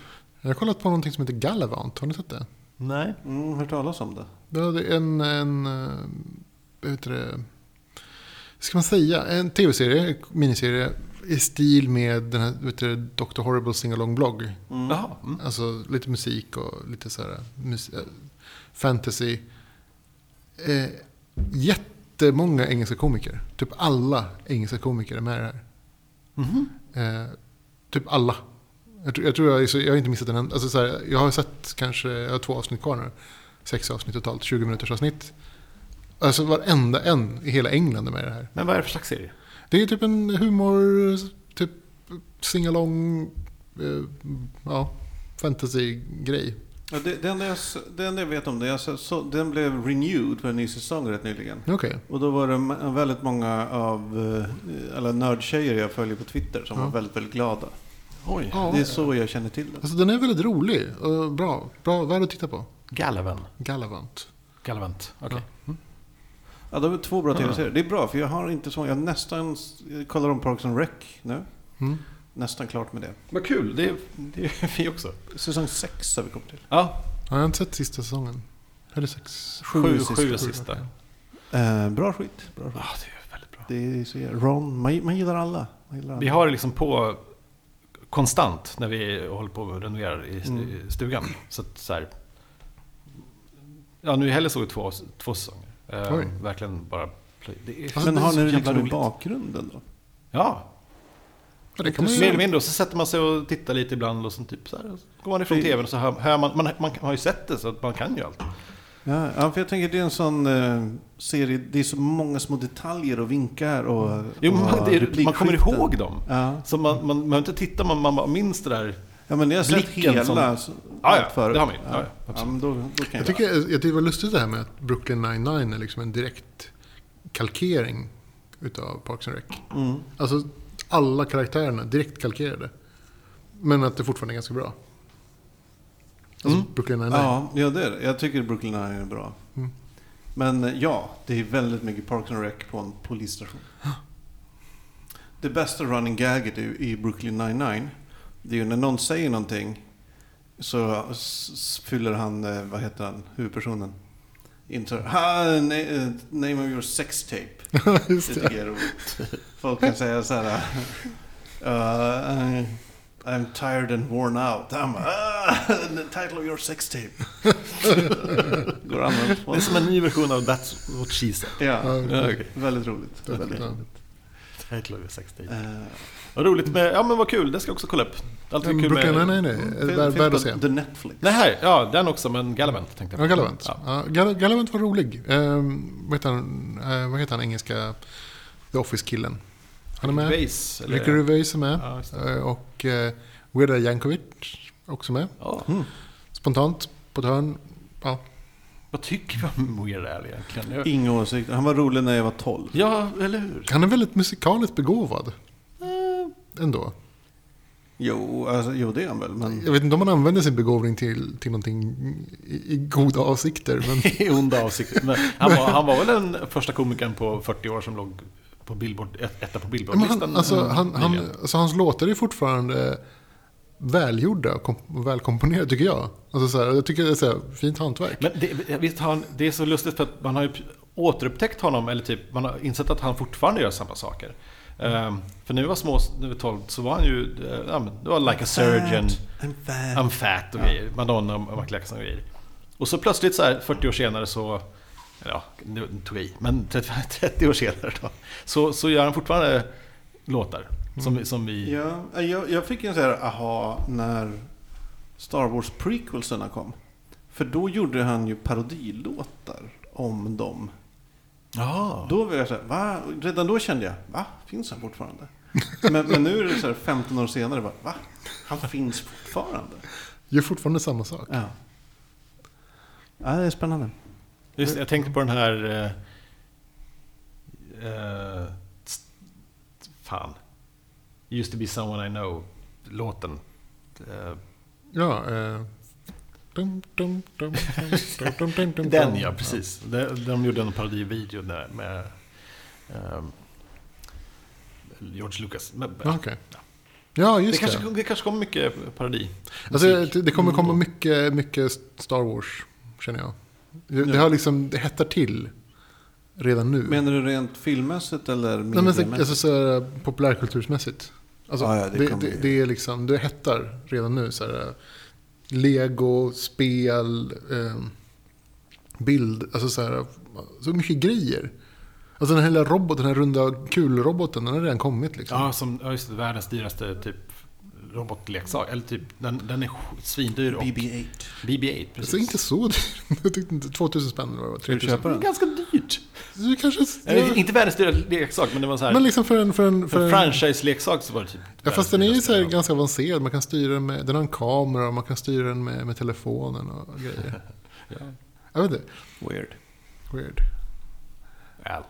[SPEAKER 2] Jag har kollat på någonting som heter Galavant. Har ni sett det?
[SPEAKER 1] Nej.
[SPEAKER 3] Mm, hört talas om det.
[SPEAKER 2] Det är en... en eh, vad heter det? Ska man säga? En tv-serie, miniserie i stil med den här vad heter det, Dr. Horrible Singalong blogg.
[SPEAKER 1] Jaha. Mm.
[SPEAKER 2] Alltså lite musik och lite så här mus- eh, fantasy. Eh, jättemånga engelska komiker. Typ alla engelska komiker är med i det här. Eh, typ alla. Jag tror jag, tror jag, är så- jag har inte missat en enda. Alltså så här, jag har sett kanske, jag har två avsnitt kvar nu. Sex avsnitt totalt, 20 minuters avsnitt. Alltså varenda en i hela England är med i det här.
[SPEAKER 1] Men vad är det för slags serie?
[SPEAKER 2] Det är typ en humor, typ singalong, eh, ja, fantasy-grej.
[SPEAKER 3] Ja, det, det, enda jag, s- det enda jag vet om det, jag så, så, den blev renewed för en ny säsong rätt nyligen.
[SPEAKER 2] Okej.
[SPEAKER 3] Och då var det ma- väldigt många av eh, alla nördtjejer jag följer på Twitter som
[SPEAKER 2] Ja.
[SPEAKER 3] var väldigt, väldigt glada.
[SPEAKER 1] Oj.
[SPEAKER 2] Ja.
[SPEAKER 3] Det är så jag känner till det.
[SPEAKER 2] Alltså den är väldigt rolig och bra. Bra, värd att titta på.
[SPEAKER 1] Galvan.
[SPEAKER 2] Galavant.
[SPEAKER 1] Galvant. Okej.
[SPEAKER 3] Ja, de är två bra tv-serier. Det är bra, för jag har inte så Jag nästan s- jag kollar om Parks and Rec nu.
[SPEAKER 2] Mm.
[SPEAKER 3] Nästan klart med det.
[SPEAKER 1] Vad kul. Det är, det är vi också.
[SPEAKER 3] Säsong sex har vi kommit till.
[SPEAKER 1] Ja.
[SPEAKER 2] Ja, jag har inte sett sista säsongen. Eller sex.
[SPEAKER 1] Sju, sju,
[SPEAKER 3] är sista.
[SPEAKER 1] är sista.
[SPEAKER 2] Sju,
[SPEAKER 3] Eh, bra skit. Bra skit.
[SPEAKER 1] Ja, det är väldigt bra.
[SPEAKER 3] Det är så jävla- Ron, man, man gillar alla. Man gillar alla.
[SPEAKER 1] Vi har det liksom på konstant när vi håller på och renoverar i i stugan. Så att så här. Ja, nu i helgen såg vi två, två säsonger. Eh,
[SPEAKER 2] Oj.
[SPEAKER 1] verkligen bara plöj. Det är
[SPEAKER 2] Alltså,
[SPEAKER 3] Men
[SPEAKER 2] det är
[SPEAKER 3] har
[SPEAKER 2] så
[SPEAKER 3] ni det
[SPEAKER 2] jävla
[SPEAKER 3] liksom i
[SPEAKER 2] roligt.
[SPEAKER 3] bakgrunden då?
[SPEAKER 1] Ja,
[SPEAKER 2] Ja, det kan man
[SPEAKER 1] mer eller
[SPEAKER 2] ju...
[SPEAKER 1] mindre. Och så sätter man sig och tittar lite ibland och så typ så här. Så går man ifrån
[SPEAKER 3] Det-
[SPEAKER 1] tvn och så hör, hör man, man, man har ju sett det så att man kan ju allt.
[SPEAKER 3] Ja, ja, för jag tänker det är en sån eh, serie, det är så många små detaljer och vinkar och,
[SPEAKER 1] Jo,
[SPEAKER 3] och
[SPEAKER 1] men det är, man kommer
[SPEAKER 3] replikskiften.
[SPEAKER 1] ihåg dem.
[SPEAKER 3] Ja.
[SPEAKER 1] Så man, man, man behöver inte titta, man, man bara minns det där.
[SPEAKER 3] ja, men jag har sett
[SPEAKER 1] Blicken
[SPEAKER 3] hela
[SPEAKER 1] som-
[SPEAKER 3] allt
[SPEAKER 1] Ja, ja,
[SPEAKER 3] förut.
[SPEAKER 1] det har man ju. Ja, ja,
[SPEAKER 3] ja,
[SPEAKER 1] absolut.
[SPEAKER 3] men då, då kan
[SPEAKER 2] Jag
[SPEAKER 3] jag,
[SPEAKER 2] tycker, jag tycker det var lustigt det här med att Brooklyn 99 är liksom en direkt kalkering utav Parks and Rec.
[SPEAKER 3] Mm.
[SPEAKER 2] Alltså alla karaktärerna direkt kalkerade. Men att det fortfarande är ganska bra. Alltså
[SPEAKER 1] Mm.
[SPEAKER 2] Brooklyn 99.
[SPEAKER 3] Ja, ja, det är det. Jag tycker Brooklyn Nine är bra.
[SPEAKER 2] Mm.
[SPEAKER 3] Men eh, ja, det är väldigt mycket Parks and Rec på en polisstation. Det bästa running gaget i, i Brooklyn 99 det är ju när någon säger någonting så s- s- fyller han, eh, vad heter han, huvudpersonen in så här, "Ha, na- eh, name of your sex tape. det
[SPEAKER 2] Just det.
[SPEAKER 3] tycker jag är roligt. Folk kan säga så här. eh, I- I'm tired and worn out. I'm, ah, the title of your sex tape. Går att använda
[SPEAKER 1] Det
[SPEAKER 3] på.
[SPEAKER 1] är som en ny version av That's What She Said.
[SPEAKER 3] Ja,
[SPEAKER 1] Ja, okej.
[SPEAKER 3] väldigt roligt.
[SPEAKER 2] Det är väldigt
[SPEAKER 3] Väldigt roligt.
[SPEAKER 2] roligt.
[SPEAKER 1] Title of your sex tape.
[SPEAKER 3] Eh,
[SPEAKER 1] Vad roligt med, ja men vad kul, det ska jag också kolla upp. Allt är
[SPEAKER 2] Men
[SPEAKER 1] kul
[SPEAKER 2] Brooklyn
[SPEAKER 1] med... Mm.
[SPEAKER 2] 99 är
[SPEAKER 3] fin-
[SPEAKER 2] värd,
[SPEAKER 3] fin
[SPEAKER 2] värd
[SPEAKER 3] på
[SPEAKER 2] att se.
[SPEAKER 3] The Netflix.
[SPEAKER 1] Nej, här, ja den också, men Galavant tänkte jag på.
[SPEAKER 2] Ja, Galavant.
[SPEAKER 1] Ja.
[SPEAKER 2] Ja. Gal- Galavant var rolig. Ehm, vad, heter han, eh, vad heter han engelska The Office-killen? Han är med.
[SPEAKER 1] Base, eller-
[SPEAKER 2] Ricky Gervais är med.
[SPEAKER 1] Ja, just det.
[SPEAKER 2] Eh, och eh, Weird Al Yankovic också med.
[SPEAKER 1] Ja.
[SPEAKER 3] Mm.
[SPEAKER 2] Spontant, på ett hörn. Ja.
[SPEAKER 1] Vad tycker vi om Weird Al egentligen? Jag-
[SPEAKER 3] Inga åsikter. Han var rolig när jag var 12.
[SPEAKER 1] Ja, eller hur?
[SPEAKER 2] Han är väldigt musikaliskt begåvad.
[SPEAKER 1] Eh.
[SPEAKER 2] Ändå.
[SPEAKER 3] Jo, alltså, jo det är han väl. Men
[SPEAKER 2] Jag vet inte om han använder sin begåvning till, till någonting i, i goda avsikter. Men
[SPEAKER 1] I onda avsikter. Men Han var, han var väl den första komikern på 40 år som låg på Billboard, ett- etta på
[SPEAKER 2] men han,
[SPEAKER 1] Billboardlistan.
[SPEAKER 2] alltså,
[SPEAKER 1] eh,
[SPEAKER 2] han, han,
[SPEAKER 1] nyligen.
[SPEAKER 2] alltså, hans låtar är fortfarande välgjorda och kom, och välkomponerade tycker jag. Alltså, så här, jag tycker det är så här, fint hantverk.
[SPEAKER 1] Men det, visst, har han, det är så lustigt för att man har ju återupptäckt honom, eller typ man har insett att han fortfarande gör samma saker. Ehm, för när vi var små, när vi var 12, så var han ju, eh, ja, men det var like a surgeon,
[SPEAKER 3] I'm fat.
[SPEAKER 1] I'm fat och grejer, Madonna och Michael Jackson och grejer. Och så plötsligt så här 40 år senare så, ja, nu tog jag i, men 30, 30 år senare då, så, så gör han fortfarande låtar. Som, vi- som vi...
[SPEAKER 3] Ja, jag, jag fick en så här aha när Star Wars prequelserna kom. För då gjorde han ju parodilåtar om dem.
[SPEAKER 1] Ja.
[SPEAKER 3] Då var jag så här, va? Redan då kände jag, va? Finns han fortfarande? Men, men nu är det så här 15 år senare, bara, va? Han finns fortfarande?
[SPEAKER 2] Gör fortfarande samma sak.
[SPEAKER 3] Ja. Ja, det är spännande.
[SPEAKER 2] Mm.
[SPEAKER 1] Just det, jag tänkte på den här... eh, eh, st- fan. Used to be someone I know-låten. Eh,
[SPEAKER 2] Ja, eh, dum, dum, dum, dum, dum, dum, dum, dum,
[SPEAKER 1] den
[SPEAKER 2] dum.
[SPEAKER 1] ja, precis. De, de gjorde en parodivideo där med ehm, George Lucas. Men,
[SPEAKER 2] Ja, Okej. Ja,
[SPEAKER 1] det,
[SPEAKER 2] just det.
[SPEAKER 1] kanske, det kanske kommer mycket parodi.
[SPEAKER 2] Alltså,
[SPEAKER 1] musik. Mm.
[SPEAKER 2] det det kommer komma mycket, mycket Star Wars, känner jag. Det, det, har liksom, det hettar till redan nu.
[SPEAKER 3] Menar du rent filmmässigt eller
[SPEAKER 2] Nej, men, så-
[SPEAKER 3] mediemässigt?
[SPEAKER 2] alltså, så här, populärkultursmässigt. Alltså,
[SPEAKER 3] Ja, ja, det
[SPEAKER 2] det, det,
[SPEAKER 3] kommer
[SPEAKER 2] det,
[SPEAKER 3] ju.
[SPEAKER 2] är liksom, det hettar redan nu. Så här, Lego, spel, eh, bild, alltså så, här, så mycket grejer. Alltså den här lilla roboten, den här runda kulroboten, den har redan kommit liksom.
[SPEAKER 1] Ja, som, ja, just det, världens dyraste typ robotleksak. Eller typ, den, den är sj- svindyr. och-
[SPEAKER 3] BB-8.
[SPEAKER 1] BB-8, precis.
[SPEAKER 2] Alltså inte så dyrt. Jag tyckte inte 2000 spänn eller vad det var. 3000
[SPEAKER 3] köpa
[SPEAKER 1] Det är ganska dyrt.
[SPEAKER 2] Du kanske...
[SPEAKER 1] Eller, inte världens dyraste leksak, men det var så här.
[SPEAKER 2] Men liksom för en... För en,
[SPEAKER 1] för
[SPEAKER 2] för
[SPEAKER 1] en
[SPEAKER 2] en
[SPEAKER 1] franchise-leksak så var det typ...
[SPEAKER 2] ja, fast den är ju
[SPEAKER 1] världens
[SPEAKER 2] så här
[SPEAKER 1] dyraste.
[SPEAKER 2] ganska avancerad. Man kan styra den med... Den har en kamera och man kan styra den med, med telefonen och grejer. Jag vet inte.
[SPEAKER 3] Weird.
[SPEAKER 2] Weird.
[SPEAKER 1] Well.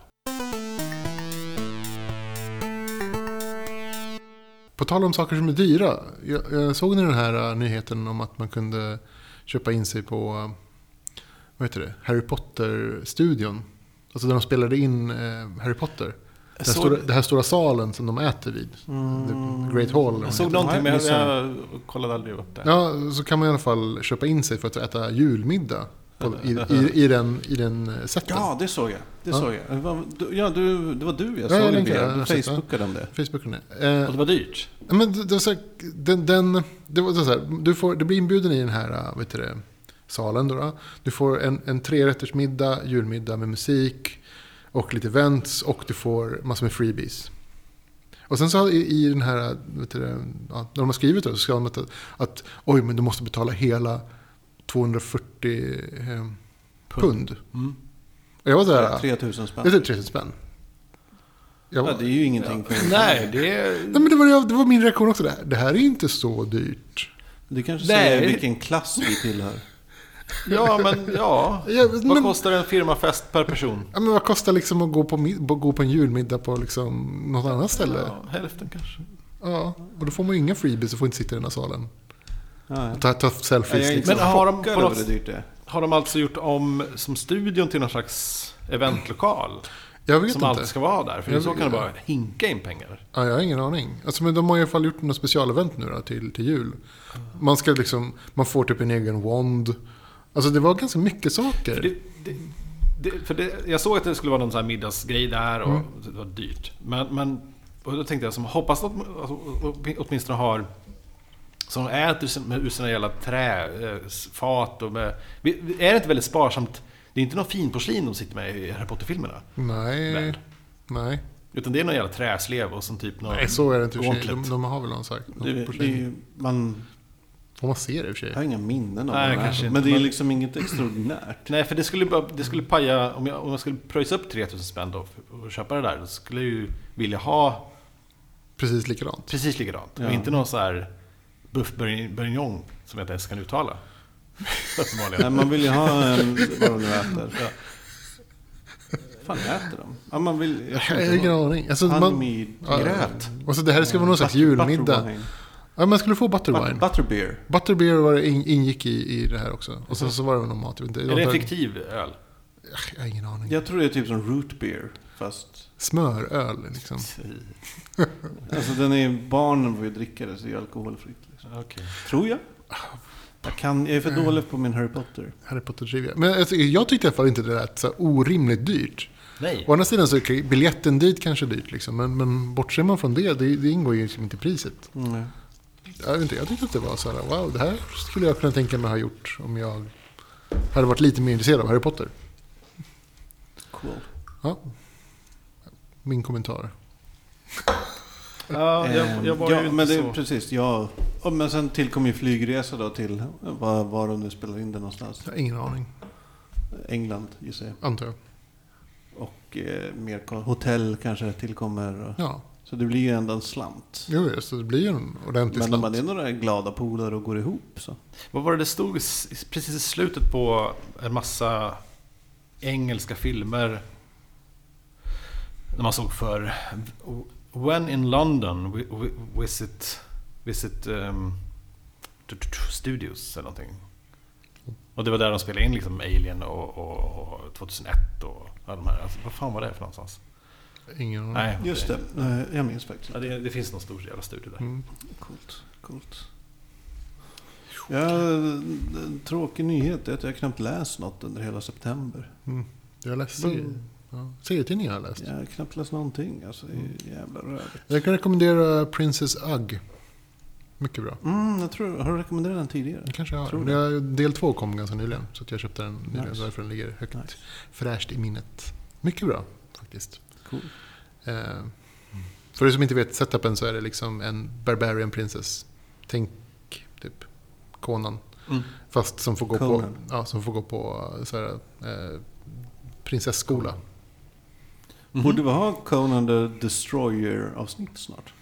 [SPEAKER 2] På tal om saker som är dyra. Jag, jag såg ni den här äh, nyheten om att man kunde köpa in sig på äh, vad heter det? Harry Potter-studion. Alltså där de spelade in äh, Harry Potter. Den här,
[SPEAKER 1] såg- Mm.
[SPEAKER 2] stora, den här stora salen som de äter vid. The Great Hall. eller vad
[SPEAKER 1] Jag
[SPEAKER 2] den
[SPEAKER 1] såg
[SPEAKER 2] heter.
[SPEAKER 1] någonting, men jag,
[SPEAKER 3] missade
[SPEAKER 1] jag kollade aldrig upp det.
[SPEAKER 2] Ja, så kan man i alla fall köpa in sig för att äta julmiddag på, i, i, i den, i den eh, sätten.
[SPEAKER 3] Ja, det såg jag. Det
[SPEAKER 2] Ja.
[SPEAKER 3] såg jag. Det var, du- ja, du, det var du jag
[SPEAKER 2] Ja,
[SPEAKER 3] såg
[SPEAKER 2] jag
[SPEAKER 3] det
[SPEAKER 2] länkar,
[SPEAKER 3] via.
[SPEAKER 2] jag
[SPEAKER 3] Du
[SPEAKER 2] har sett det.
[SPEAKER 3] facebookade om det.
[SPEAKER 2] Facebooken är.
[SPEAKER 1] Och
[SPEAKER 2] Eh,
[SPEAKER 1] det var dyrt.
[SPEAKER 2] men det, det var så här, den, den, det var så här, du, får, du blir inbjuden i den här eh, vet du det, salen. Då, då. Du får en, en trerättersmiddag, julmiddag med musik och lite events och du får massor med freebies. Och sen så i, i den här, vet du, det, ja, när de har skrivit det så ska de att, att oj men du måste betala hela 240 eh, pund.
[SPEAKER 1] Mm.
[SPEAKER 2] Jag var såhär,
[SPEAKER 3] 3000
[SPEAKER 2] det är
[SPEAKER 3] spänn.
[SPEAKER 2] typ 3000 spänn. Jag
[SPEAKER 3] Ja,
[SPEAKER 2] var,
[SPEAKER 3] det är ju ingenting. För en
[SPEAKER 1] Nej, det är...
[SPEAKER 2] nej, men det, var, jag- det var min reaktion också. Det här, det här är inte så dyrt.
[SPEAKER 3] Du kanske
[SPEAKER 1] Nej.
[SPEAKER 3] säger vilken klass vi tillhör.
[SPEAKER 1] Ja, men ja.
[SPEAKER 2] Jag,
[SPEAKER 1] Vad
[SPEAKER 2] men,
[SPEAKER 1] kostar en firmafest per person?
[SPEAKER 2] ja, men vad kostar liksom att gå på, mid- gå på en julmiddag på liksom något annat ställe? Ja.
[SPEAKER 1] Ja, hälften kanske.
[SPEAKER 2] Och då får man ju inga freebies och får inte sitta i den här salen.
[SPEAKER 3] Ja, ja.
[SPEAKER 2] Ta, ta selfies
[SPEAKER 3] Jag är
[SPEAKER 2] liksom.
[SPEAKER 3] inte
[SPEAKER 1] Men har de
[SPEAKER 3] chockad
[SPEAKER 1] på
[SPEAKER 3] över
[SPEAKER 1] något-
[SPEAKER 3] hur dyrt det är.
[SPEAKER 1] Har de alltså gjort om som studion till någon slags eventlokal?
[SPEAKER 2] Jag
[SPEAKER 1] Som
[SPEAKER 2] vet
[SPEAKER 1] alltid
[SPEAKER 2] inte.
[SPEAKER 1] ska vara där? För
[SPEAKER 2] Jag
[SPEAKER 1] så
[SPEAKER 2] vet
[SPEAKER 1] kan det
[SPEAKER 2] inte.
[SPEAKER 1] bara hinka in pengar.
[SPEAKER 2] Ja, jag har ingen aning. Alltså, men de har i alla fall gjort något specialevent nu då, till, till jul. Man, ska liksom, man får typ en egen wand. Alltså det var ganska mycket
[SPEAKER 1] För,
[SPEAKER 2] saker.
[SPEAKER 1] det, det, det, för det, jag såg att det skulle vara någon sån här middagsgrej där och
[SPEAKER 2] Mm.
[SPEAKER 1] det var dyrt. Men, men och då tänkte jag som hoppas att man alltså, å- åtminstone har som äter sin- med- ur sina jävla träfat och med, vi- vi- Är det inte väldigt sparsamt? Det är inte någon finporslin de sitter med i Harry Potter-filmerna.
[SPEAKER 2] Nej.
[SPEAKER 1] Väl.
[SPEAKER 2] Nej.
[SPEAKER 1] Utan det är någon jävla träslev och som typ någon...
[SPEAKER 2] Nej, så är det inte i och för sig. De,
[SPEAKER 1] Gauntlet.
[SPEAKER 2] de har väl någon sagt.
[SPEAKER 3] Det,
[SPEAKER 2] någon
[SPEAKER 3] är-
[SPEAKER 2] på
[SPEAKER 3] det är
[SPEAKER 2] sig.
[SPEAKER 3] ju, man
[SPEAKER 2] Får man se det i och för
[SPEAKER 3] har
[SPEAKER 2] sig?
[SPEAKER 3] inga minnen av
[SPEAKER 1] Nej,
[SPEAKER 3] vad det
[SPEAKER 1] kanske
[SPEAKER 3] är.
[SPEAKER 1] inte,
[SPEAKER 3] Men det är
[SPEAKER 1] men-
[SPEAKER 3] liksom inget extraordinärt.
[SPEAKER 1] Nej, för det skulle, bara- det skulle paja... Om jag, om jag skulle pröjsa upp 3000 spänn då för- och köpa det där, då skulle jag ju vilja ha
[SPEAKER 2] Precis likadant.
[SPEAKER 1] precis likadant.
[SPEAKER 3] Ja.
[SPEAKER 1] Och inte någon så här buff bourg- bourguignon som jag inte ens kan uttala.
[SPEAKER 3] Nej,
[SPEAKER 1] Uppenbarligen.
[SPEAKER 3] man vill ju ha en, vad de nu äter. Ja. fan äter de? Ja, man vill... Jag
[SPEAKER 2] Jag har ingen aning. Alltså, man, Ja,
[SPEAKER 3] Handmidgröt.
[SPEAKER 2] alltså, det här ska vara någon slags julmiddag. Ja, man skulle få butterwine.
[SPEAKER 3] Butterbeer.
[SPEAKER 2] Butterbeer var det in, ingick i, i det här också. Och sen så var det väl någon mat. Jag vet inte.
[SPEAKER 1] Är det en fiktiv öl?
[SPEAKER 2] Jag har ingen aning.
[SPEAKER 3] Jag tror det är typ som root beer. Fast...
[SPEAKER 2] Smöröl liksom.
[SPEAKER 3] Alltså den är... Barnen får ju dricka det så det är alkoholfritt. Liksom.
[SPEAKER 1] Okej.
[SPEAKER 3] Tror jag. Jag, kan, jag är för dålig på min Harry Potter.
[SPEAKER 2] Harry Potter Trivia. Men alltså, jag tyckte i alla fall inte det lät så här orimligt dyrt.
[SPEAKER 1] Nej.
[SPEAKER 2] Å andra sidan så är biljetten dit kanske dyrt liksom. Men, men bortser man från det, det, det ingår ju liksom inte i priset.
[SPEAKER 3] Mm.
[SPEAKER 2] Jag, vet inte, jag tyckte att det var så här, wow, det här skulle jag kunna tänka mig ha gjort om jag hade varit lite mer intresserad av Harry Potter.
[SPEAKER 3] Cool.
[SPEAKER 2] Ja. Min kommentar.
[SPEAKER 1] Ja, jag, jag var
[SPEAKER 3] Ehm, ja,
[SPEAKER 1] ju inte
[SPEAKER 3] men det,
[SPEAKER 1] så...
[SPEAKER 3] Precis, ja. Och, men sen tillkom ju flygresa då till var, var de nu spelar in det någonstans.
[SPEAKER 2] Jag har ingen aning,
[SPEAKER 3] England gissar jag.
[SPEAKER 2] antar jag.
[SPEAKER 3] Och eh, mer ko- hotell kanske tillkommer. Och,
[SPEAKER 2] Ja,
[SPEAKER 3] Så det blir ju ändå en slant.
[SPEAKER 2] jo, jo, så det blir ju en ordentlig
[SPEAKER 3] Men om man är
[SPEAKER 2] slant.
[SPEAKER 3] några glada polare och går ihop så.
[SPEAKER 1] Vad var det det stod s- precis i slutet på en massa engelska filmer? När man såg för When in London wi- wi- visit, visit um, t- t- t- studios eller någonting. Och det var där de spelade in liksom Alien och, och, och 2001 och alla de här. Alltså, vad fan var det för någonstans?
[SPEAKER 2] Ingen aning.
[SPEAKER 1] Nej,
[SPEAKER 3] Mm. Just det, eh, jag minns faktiskt.
[SPEAKER 1] Ja, det, det finns någon stor jävla studio där.
[SPEAKER 2] Mm.
[SPEAKER 3] Coolt, coolt. Ja, en tråkig nyhet är att jag knappt läst något under hela september.
[SPEAKER 2] Jag har läst
[SPEAKER 3] Mm.
[SPEAKER 2] serier. Ja, serietidningar har jag läst.
[SPEAKER 3] Jag har knappt läst någonting. Alltså, det är ju
[SPEAKER 1] Mm.
[SPEAKER 3] jävla rörigt.
[SPEAKER 2] Jag kan rekommendera Princess Ugg. Mycket bra.
[SPEAKER 3] Mm, jag tror, har du rekommenderat den tidigare?
[SPEAKER 2] Den kanske jag har.
[SPEAKER 3] Tror
[SPEAKER 2] Men jag, del två kom ganska nyligen. Så att jag köpte den nyligen.
[SPEAKER 3] Nice.
[SPEAKER 2] Därför den ligger högt
[SPEAKER 3] Nice.
[SPEAKER 2] fräscht i minnet. Mycket bra faktiskt.
[SPEAKER 3] Cool.
[SPEAKER 2] Eh, för er som inte vet setupen så är det liksom en Barbarian Princess. Tänk typ Conan.
[SPEAKER 1] Mm.
[SPEAKER 2] Fast som får gå på,
[SPEAKER 3] Conan.
[SPEAKER 2] ja, som får gå på så här, eh, prinsesskola.
[SPEAKER 3] Mm. Borde vi ha Conan the Destroyer-avsnitt snart?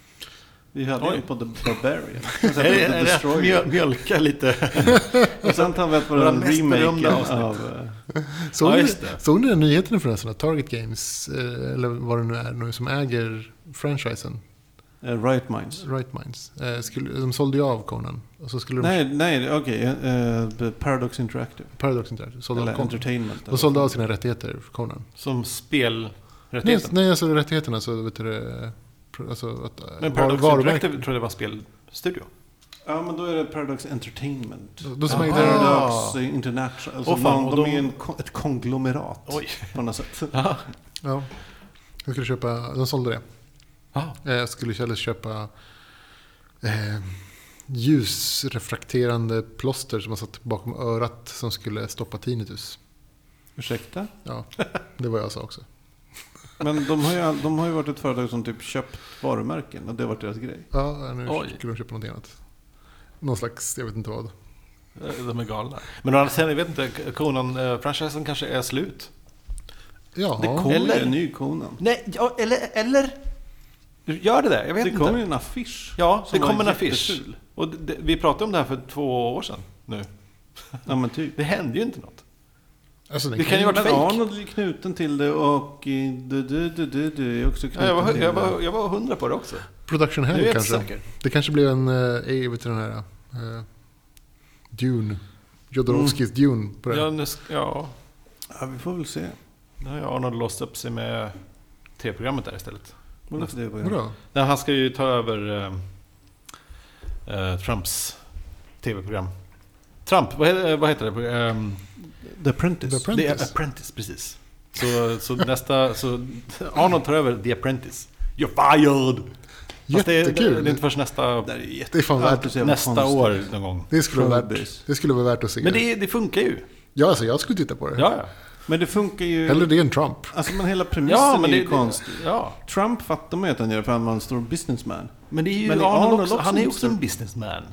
[SPEAKER 3] Vi hade
[SPEAKER 1] Oj.
[SPEAKER 3] ju på The Barbarian.
[SPEAKER 1] Är det, är det att mjöl- mjölka lite?
[SPEAKER 3] Och sen tar vi på
[SPEAKER 1] Våra
[SPEAKER 3] den
[SPEAKER 1] mest
[SPEAKER 3] remaken
[SPEAKER 1] berömda
[SPEAKER 3] av...
[SPEAKER 1] avsnitt.
[SPEAKER 3] eh,
[SPEAKER 2] Såg,
[SPEAKER 1] Ja,
[SPEAKER 2] ni,
[SPEAKER 1] just det.
[SPEAKER 2] såg ni den nyheten förresten att Target Games, eh, eller vad det nu är, nu som äger franchisen,
[SPEAKER 3] eh, Riot Minds.
[SPEAKER 2] Right Minds, eh, skulle, de sålde ju av Conan. Och så skulle
[SPEAKER 3] Nej, nej, okej. eh, eh, Paradox Interactive.
[SPEAKER 2] de, Paradox inte, sålde av
[SPEAKER 3] Eller
[SPEAKER 2] Conan.
[SPEAKER 3] Entertainment.
[SPEAKER 2] De sålde av sina rättigheter för Conan.
[SPEAKER 1] Som
[SPEAKER 2] Nej,
[SPEAKER 1] spelrättigheten?
[SPEAKER 2] nej, alltså rättigheterna så vet du det, pro- alltså att eh,
[SPEAKER 1] Men
[SPEAKER 2] var-
[SPEAKER 1] Paradox
[SPEAKER 2] varumärken-
[SPEAKER 1] Interactive tror jag det var spelstudio.
[SPEAKER 3] Ja, men då är det Paradox Entertainment. Ah.
[SPEAKER 2] Då- då
[SPEAKER 1] smäller det-
[SPEAKER 3] Paradox International. Alltså
[SPEAKER 1] Åh, fan,
[SPEAKER 3] någon,
[SPEAKER 1] och
[SPEAKER 3] de,
[SPEAKER 1] de-
[SPEAKER 3] är en, ko- ett konglomerat
[SPEAKER 1] Oj.
[SPEAKER 3] på något sätt.
[SPEAKER 1] Ja.
[SPEAKER 2] Ja. Jag skulle köpa, de sålde det.
[SPEAKER 1] Ja.
[SPEAKER 2] Eh, Jag skulle istället köpa eh, ljusrefrakterande plåster som man satt bakom örat som skulle stoppa tinnitus.
[SPEAKER 3] Ursäkta?
[SPEAKER 2] Ja, det var jag sa också.
[SPEAKER 3] Men de har, ju, all- de har ju varit ett företag som typ köpt varumärken och det har varit deras grej.
[SPEAKER 2] Ja, nu
[SPEAKER 1] Oj.
[SPEAKER 2] skulle de köpa något annat. Någon slags, jag vet inte vad.
[SPEAKER 1] Eh, De är galna. Men å andra sidan, jag vet inte, Conan-franchisen kanske är slut.
[SPEAKER 2] Ja,
[SPEAKER 3] Det kommer ju
[SPEAKER 1] Eller-
[SPEAKER 3] en ny Conan.
[SPEAKER 1] Nej, ja, eller, eller? Gör det det? Jag vet
[SPEAKER 3] Det
[SPEAKER 1] inte.
[SPEAKER 3] kommer ju en affisch.
[SPEAKER 1] Ja, det
[SPEAKER 3] som
[SPEAKER 1] kommer en
[SPEAKER 3] var
[SPEAKER 1] affisch.
[SPEAKER 3] jätteful.
[SPEAKER 1] Och det, det, vi pratade om det här för två år sedan nu.
[SPEAKER 3] Ja men typ.
[SPEAKER 1] Det hände ju inte något.
[SPEAKER 2] alltså, den
[SPEAKER 1] det kan ju
[SPEAKER 3] Men
[SPEAKER 1] varit fake.
[SPEAKER 3] Arnold är knuten till det och eh, du, du, du, du, du är också
[SPEAKER 1] Ja,
[SPEAKER 3] knuten
[SPEAKER 1] jag, var,
[SPEAKER 3] till
[SPEAKER 1] jag,
[SPEAKER 3] det.
[SPEAKER 1] var, jag var hundra på det också.
[SPEAKER 2] Production
[SPEAKER 1] Nu är
[SPEAKER 2] Hell
[SPEAKER 1] jag
[SPEAKER 2] kanske.
[SPEAKER 1] inte säker.
[SPEAKER 2] Det kanske blev en, eh, vet du den här, eh, Dune. Jodorowskis Dune på det.
[SPEAKER 1] Mm. Ja, nu, sk- ja,
[SPEAKER 3] Ja, vi får väl se.
[SPEAKER 1] nu har ju Arnold låst upp sig med tv-programmet där istället.
[SPEAKER 3] Vadå för det börjar?
[SPEAKER 2] Bra.
[SPEAKER 1] Nej, han ska ju ta över eh, eh, Trumps tv-program. Trump, vad, he- eh, vad heter det? Ehm,
[SPEAKER 3] The Apprentice.
[SPEAKER 2] The Apprentice.
[SPEAKER 1] The Apprentice, precis. Så, så nästa, så Arnold tar över The Apprentice. You're fired! Fast Det,
[SPEAKER 2] Jättekul.
[SPEAKER 1] är- det är inte förrän nästa,
[SPEAKER 3] Det där är ju jätte...
[SPEAKER 2] Det är fan
[SPEAKER 3] Ja,
[SPEAKER 2] värt,
[SPEAKER 3] precis. jävla
[SPEAKER 1] nästa
[SPEAKER 3] konstigt.
[SPEAKER 1] år någon gång.
[SPEAKER 2] det skulle, vara
[SPEAKER 3] Showbiz.
[SPEAKER 2] värt, det skulle vara värt att se.
[SPEAKER 1] Men det, det funkar ju.
[SPEAKER 2] ja, alltså, jag skulle titta på det.
[SPEAKER 1] Ja, ja.
[SPEAKER 3] Men det funkar ju...
[SPEAKER 2] Hellre det än Trump.
[SPEAKER 3] Alltså men hela premissen
[SPEAKER 1] ja
[SPEAKER 3] är
[SPEAKER 1] men
[SPEAKER 3] ju
[SPEAKER 1] det,
[SPEAKER 3] konstig.
[SPEAKER 1] det, ja.
[SPEAKER 3] Trump fattar man ju att han gör för han var en stor businessman.
[SPEAKER 1] Men det är ju
[SPEAKER 3] Men är
[SPEAKER 1] Arnold,
[SPEAKER 3] Arnold
[SPEAKER 1] också.
[SPEAKER 3] också
[SPEAKER 1] Han är
[SPEAKER 3] en
[SPEAKER 1] ju också en businessman.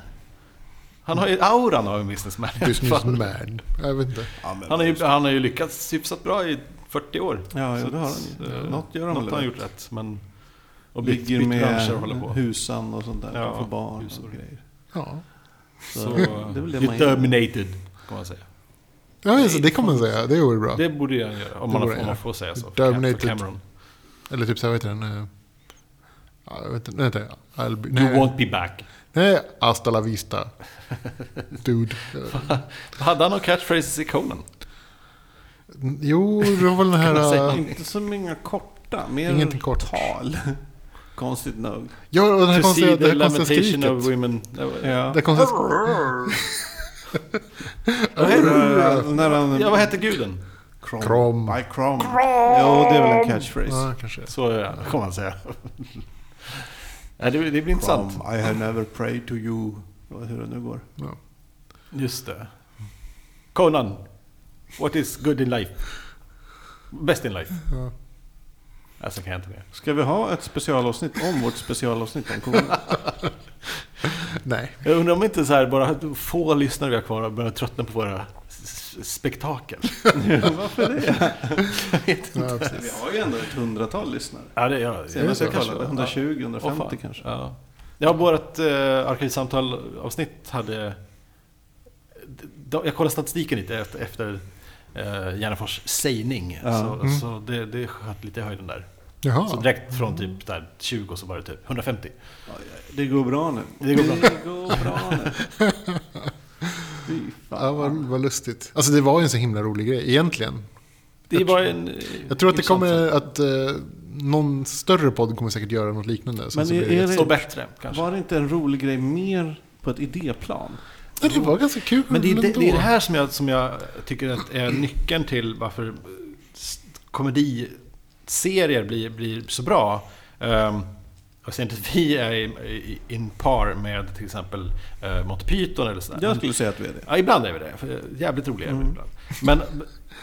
[SPEAKER 1] Han har ju auran av en businessman.
[SPEAKER 2] Businessman. Jag vet inte.
[SPEAKER 3] Ja, men
[SPEAKER 1] Han har, ju, han har ju lyckats hyfsat bra i 40 år.
[SPEAKER 3] Ja, ja
[SPEAKER 1] Så
[SPEAKER 3] det har
[SPEAKER 1] att,
[SPEAKER 3] han ju.
[SPEAKER 1] eh,
[SPEAKER 3] Något gör han
[SPEAKER 1] Något
[SPEAKER 3] väl
[SPEAKER 1] har han
[SPEAKER 3] rätt.
[SPEAKER 1] gjort rätt. Men, och
[SPEAKER 3] Och
[SPEAKER 1] bytt,
[SPEAKER 3] ligger
[SPEAKER 1] bytt branscher och håller
[SPEAKER 3] med
[SPEAKER 1] på.
[SPEAKER 3] husan och sånt där.
[SPEAKER 1] Ja,
[SPEAKER 3] Ja, för barn
[SPEAKER 1] hus och
[SPEAKER 3] och grejer.
[SPEAKER 2] Ja.
[SPEAKER 1] Så,
[SPEAKER 3] det är väl det man
[SPEAKER 1] you're
[SPEAKER 3] gör.
[SPEAKER 1] terminated, kan man säga.
[SPEAKER 2] Ja, alltså, det kan man säga. Det vore bra.
[SPEAKER 1] Det borde ju han göra, om
[SPEAKER 2] Det
[SPEAKER 1] man,
[SPEAKER 2] borde han
[SPEAKER 1] om man
[SPEAKER 2] göra.
[SPEAKER 1] får säga så. För, Cam-
[SPEAKER 2] Terminated.
[SPEAKER 1] för Cameron.
[SPEAKER 2] Eller typ så här, vad heter den? eh, ja, Jag vet inte. vänta, I'll be,
[SPEAKER 1] You
[SPEAKER 2] nej,
[SPEAKER 1] won't be back.
[SPEAKER 2] nej, hasta la vista. Dude. Eh,
[SPEAKER 1] Hade han några catchphrases i Conan?
[SPEAKER 2] Jo, det var väl den
[SPEAKER 3] Kan man säga,
[SPEAKER 2] här... eh,
[SPEAKER 3] inte så många korta, mer
[SPEAKER 2] Ingenting kort.
[SPEAKER 3] tal. Konstigt nog.
[SPEAKER 2] Ja, och den här
[SPEAKER 1] To see
[SPEAKER 2] konstiga, det
[SPEAKER 1] the
[SPEAKER 2] här konstiga
[SPEAKER 1] lamentation of
[SPEAKER 2] skriket.
[SPEAKER 1] women...
[SPEAKER 3] Ja.
[SPEAKER 2] Det här konstiga sk-
[SPEAKER 3] När- När han...
[SPEAKER 1] Ja, vad hette guden?
[SPEAKER 3] Krom.
[SPEAKER 2] Krom.
[SPEAKER 3] Nej, Krom. Jo, det är väl en catchphrase.
[SPEAKER 2] Ja, kanske.
[SPEAKER 1] Så ja, kommer man säga. Nej, det, det blir
[SPEAKER 3] Krom,
[SPEAKER 1] intressant.
[SPEAKER 3] I have never prayed to you. Vad- Hur det nu går.
[SPEAKER 2] Ja.
[SPEAKER 1] Just det. Conan. What is good in life? Best in life.
[SPEAKER 2] Ja.
[SPEAKER 1] Alltså kan jag inte mer.
[SPEAKER 3] Ska vi ha ett specialavsnitt om vårt specialavsnitt om corona?
[SPEAKER 2] Nej.
[SPEAKER 1] Jag undrar om inte så här bara få lyssnare vi har kvar börjar tröttna på våra s- spektakel.
[SPEAKER 3] Varför det?
[SPEAKER 1] Jag vet inte.
[SPEAKER 2] Ja, precis.
[SPEAKER 3] Vi har ju ändå ett hundratal lyssnare.
[SPEAKER 1] Ja, det, ja,
[SPEAKER 3] Senast jag
[SPEAKER 1] kanske-
[SPEAKER 3] kollade,
[SPEAKER 1] ja.
[SPEAKER 3] 120,
[SPEAKER 1] Åh,
[SPEAKER 3] 150
[SPEAKER 1] fan.
[SPEAKER 3] kanske.
[SPEAKER 1] Ja. ja, vårt eh, arkivsamtal-avsnitt hade... d- Jag kollade statistiken lite efter, efter eh, Järnfors sägning.
[SPEAKER 3] Ja.
[SPEAKER 1] Så,
[SPEAKER 2] Mm.
[SPEAKER 1] så det, det sköt lite i höjden där. Så
[SPEAKER 2] Jaha.
[SPEAKER 1] direkt från typ där 20 så var det typ 150.
[SPEAKER 3] Det går bra nu.
[SPEAKER 1] Det går bra.
[SPEAKER 3] Det går bra nu. Fy fan.
[SPEAKER 2] Ja, vad, vad lustigt. Alltså det var ju en så himla rolig grej egentligen.
[SPEAKER 1] Det
[SPEAKER 2] Jag
[SPEAKER 1] var en... eh,
[SPEAKER 2] Jag tror att det
[SPEAKER 1] intressant
[SPEAKER 2] kommer att eh, någon större podd kommer säkert göra något liknande. Sen
[SPEAKER 3] Men
[SPEAKER 2] så blir
[SPEAKER 3] är-
[SPEAKER 2] det
[SPEAKER 3] är
[SPEAKER 1] sak.
[SPEAKER 2] jättestort.
[SPEAKER 1] Och bättre kanske.
[SPEAKER 3] Var det inte en rolig grej mer på ett idéplan?
[SPEAKER 2] Nej, det var ganska kul
[SPEAKER 1] Men det är det,
[SPEAKER 2] ändå.
[SPEAKER 1] det, är det här som jag, som jag tycker att är nyckeln till varför eh, s- komediserier blir, blir så bra. Um, jag säger inte att vi är i, i, in par med till exempel uh, Monty Python eller sådär.
[SPEAKER 3] Jag skulle säga att vi är det.
[SPEAKER 1] Ja, ibland är vi det. För Jävligt roliga är vi ibland. Men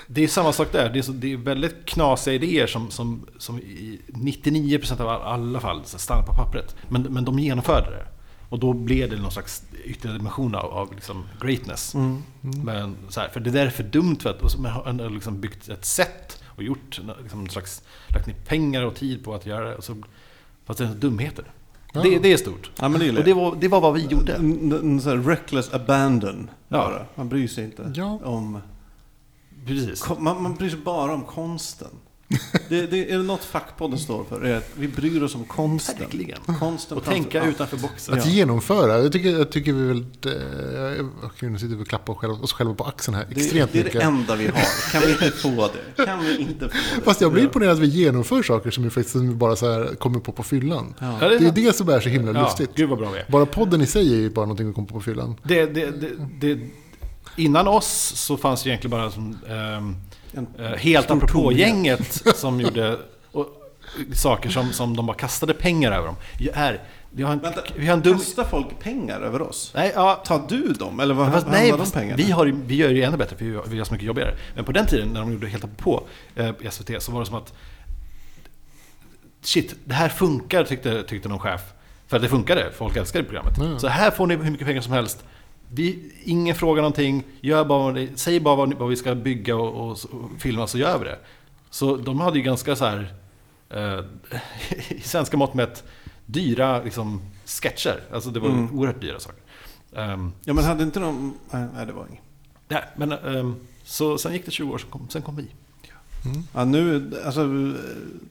[SPEAKER 1] det är samma sak där. Det är, så, det är väldigt knasiga idéer som, som, som i 99% av all- alla fall så stannar på pappret. Men, men de genomförde det. Och då blev det någon slags ytterligare dimension av, av liksom greatness. Men, så här, för det där är för dumt. För att, och så, men har han har liksom byggt ett sätt och gjort en- liksom, en slags, lagt ner pengar och tid på att göra det. Och så, fast det är dumheter.
[SPEAKER 2] Ja.
[SPEAKER 1] Det, det är stort.
[SPEAKER 3] Ja, men det gillar
[SPEAKER 1] Och det var, det var vad vi gjorde.
[SPEAKER 3] En, en sån här reckless abandon.
[SPEAKER 1] Ja.
[SPEAKER 3] Bara. Man bryr sig inte
[SPEAKER 2] Ja.
[SPEAKER 3] om...
[SPEAKER 1] Precis.
[SPEAKER 3] Kon- Man, man bryr sig bara om konsten. Det, det, är det något fackpodden står för? Är att vi bryr oss om konsten.
[SPEAKER 1] Verkligen.
[SPEAKER 3] konsten
[SPEAKER 1] Och
[SPEAKER 3] framför
[SPEAKER 1] tänka
[SPEAKER 3] allt.
[SPEAKER 1] utanför boxen.
[SPEAKER 2] Att genomföra, jag tycker, jag tycker vi väl... Eh, okej, nu sitter vi och klappar oss själva, oss själva på axeln här
[SPEAKER 3] Det,
[SPEAKER 2] extremt
[SPEAKER 3] det är det
[SPEAKER 2] mycket.
[SPEAKER 3] enda vi har. Kan vi inte få det? Kan vi inte få det?
[SPEAKER 2] Fast jag blir imponerad att vi genomför saker som vi faktiskt bara så här kommer på på fyllan.
[SPEAKER 1] Ja,
[SPEAKER 2] Det är ju
[SPEAKER 1] sant.
[SPEAKER 2] det som är så himla
[SPEAKER 1] Ja,
[SPEAKER 2] lustigt.
[SPEAKER 1] Gud vad bra vi är.
[SPEAKER 2] Bara podden i sig är ju bara någonting vi kom på på fyllan.
[SPEAKER 1] Det, det, det, det, innan oss så fanns det egentligen bara som, ehm,
[SPEAKER 3] En
[SPEAKER 1] eh, helt
[SPEAKER 3] stor
[SPEAKER 1] apropå-gänget som gjorde och, saker som, som de bara kastade pengar över dem. Jag är, vi har en,
[SPEAKER 3] Vänta,
[SPEAKER 1] vi har en dum...
[SPEAKER 3] kastar folk pengar över oss?
[SPEAKER 1] Nej, ja,
[SPEAKER 3] Tar du dem? Eller vad
[SPEAKER 1] fast,
[SPEAKER 3] händer
[SPEAKER 1] nej
[SPEAKER 3] med de
[SPEAKER 1] fast,
[SPEAKER 3] pengarna?
[SPEAKER 1] vi, har, ju- vi gör det ju ännu bättre för vi har, vi har så mycket jobbigare. Men på den tiden när de gjorde helt apropå eh, i SVT så var det som att Shit, det här funkar tyckte, tyckte någon chef. För att det funkade, folk älskade programmet.
[SPEAKER 2] Mm.
[SPEAKER 1] Så här får ni hur mycket pengar som helst. Vi, ingen frågar någonting, gör bara vad ni, säg bara vad, ni, vad vi ska bygga och, och, och filma så gör vi det. Så de hade ju ganska så här, eh, i svenska mått mätt, dyra liksom, sketcher. Alltså det var
[SPEAKER 3] Mm.
[SPEAKER 1] oerhört dyra saker. Ehm,
[SPEAKER 3] Ja, men hade inte de... Nej, nej, det var inget.
[SPEAKER 1] nej, men, ehm, så sen gick det 20 år, sen kom, sen kom vi.
[SPEAKER 3] Ja, nu, alltså,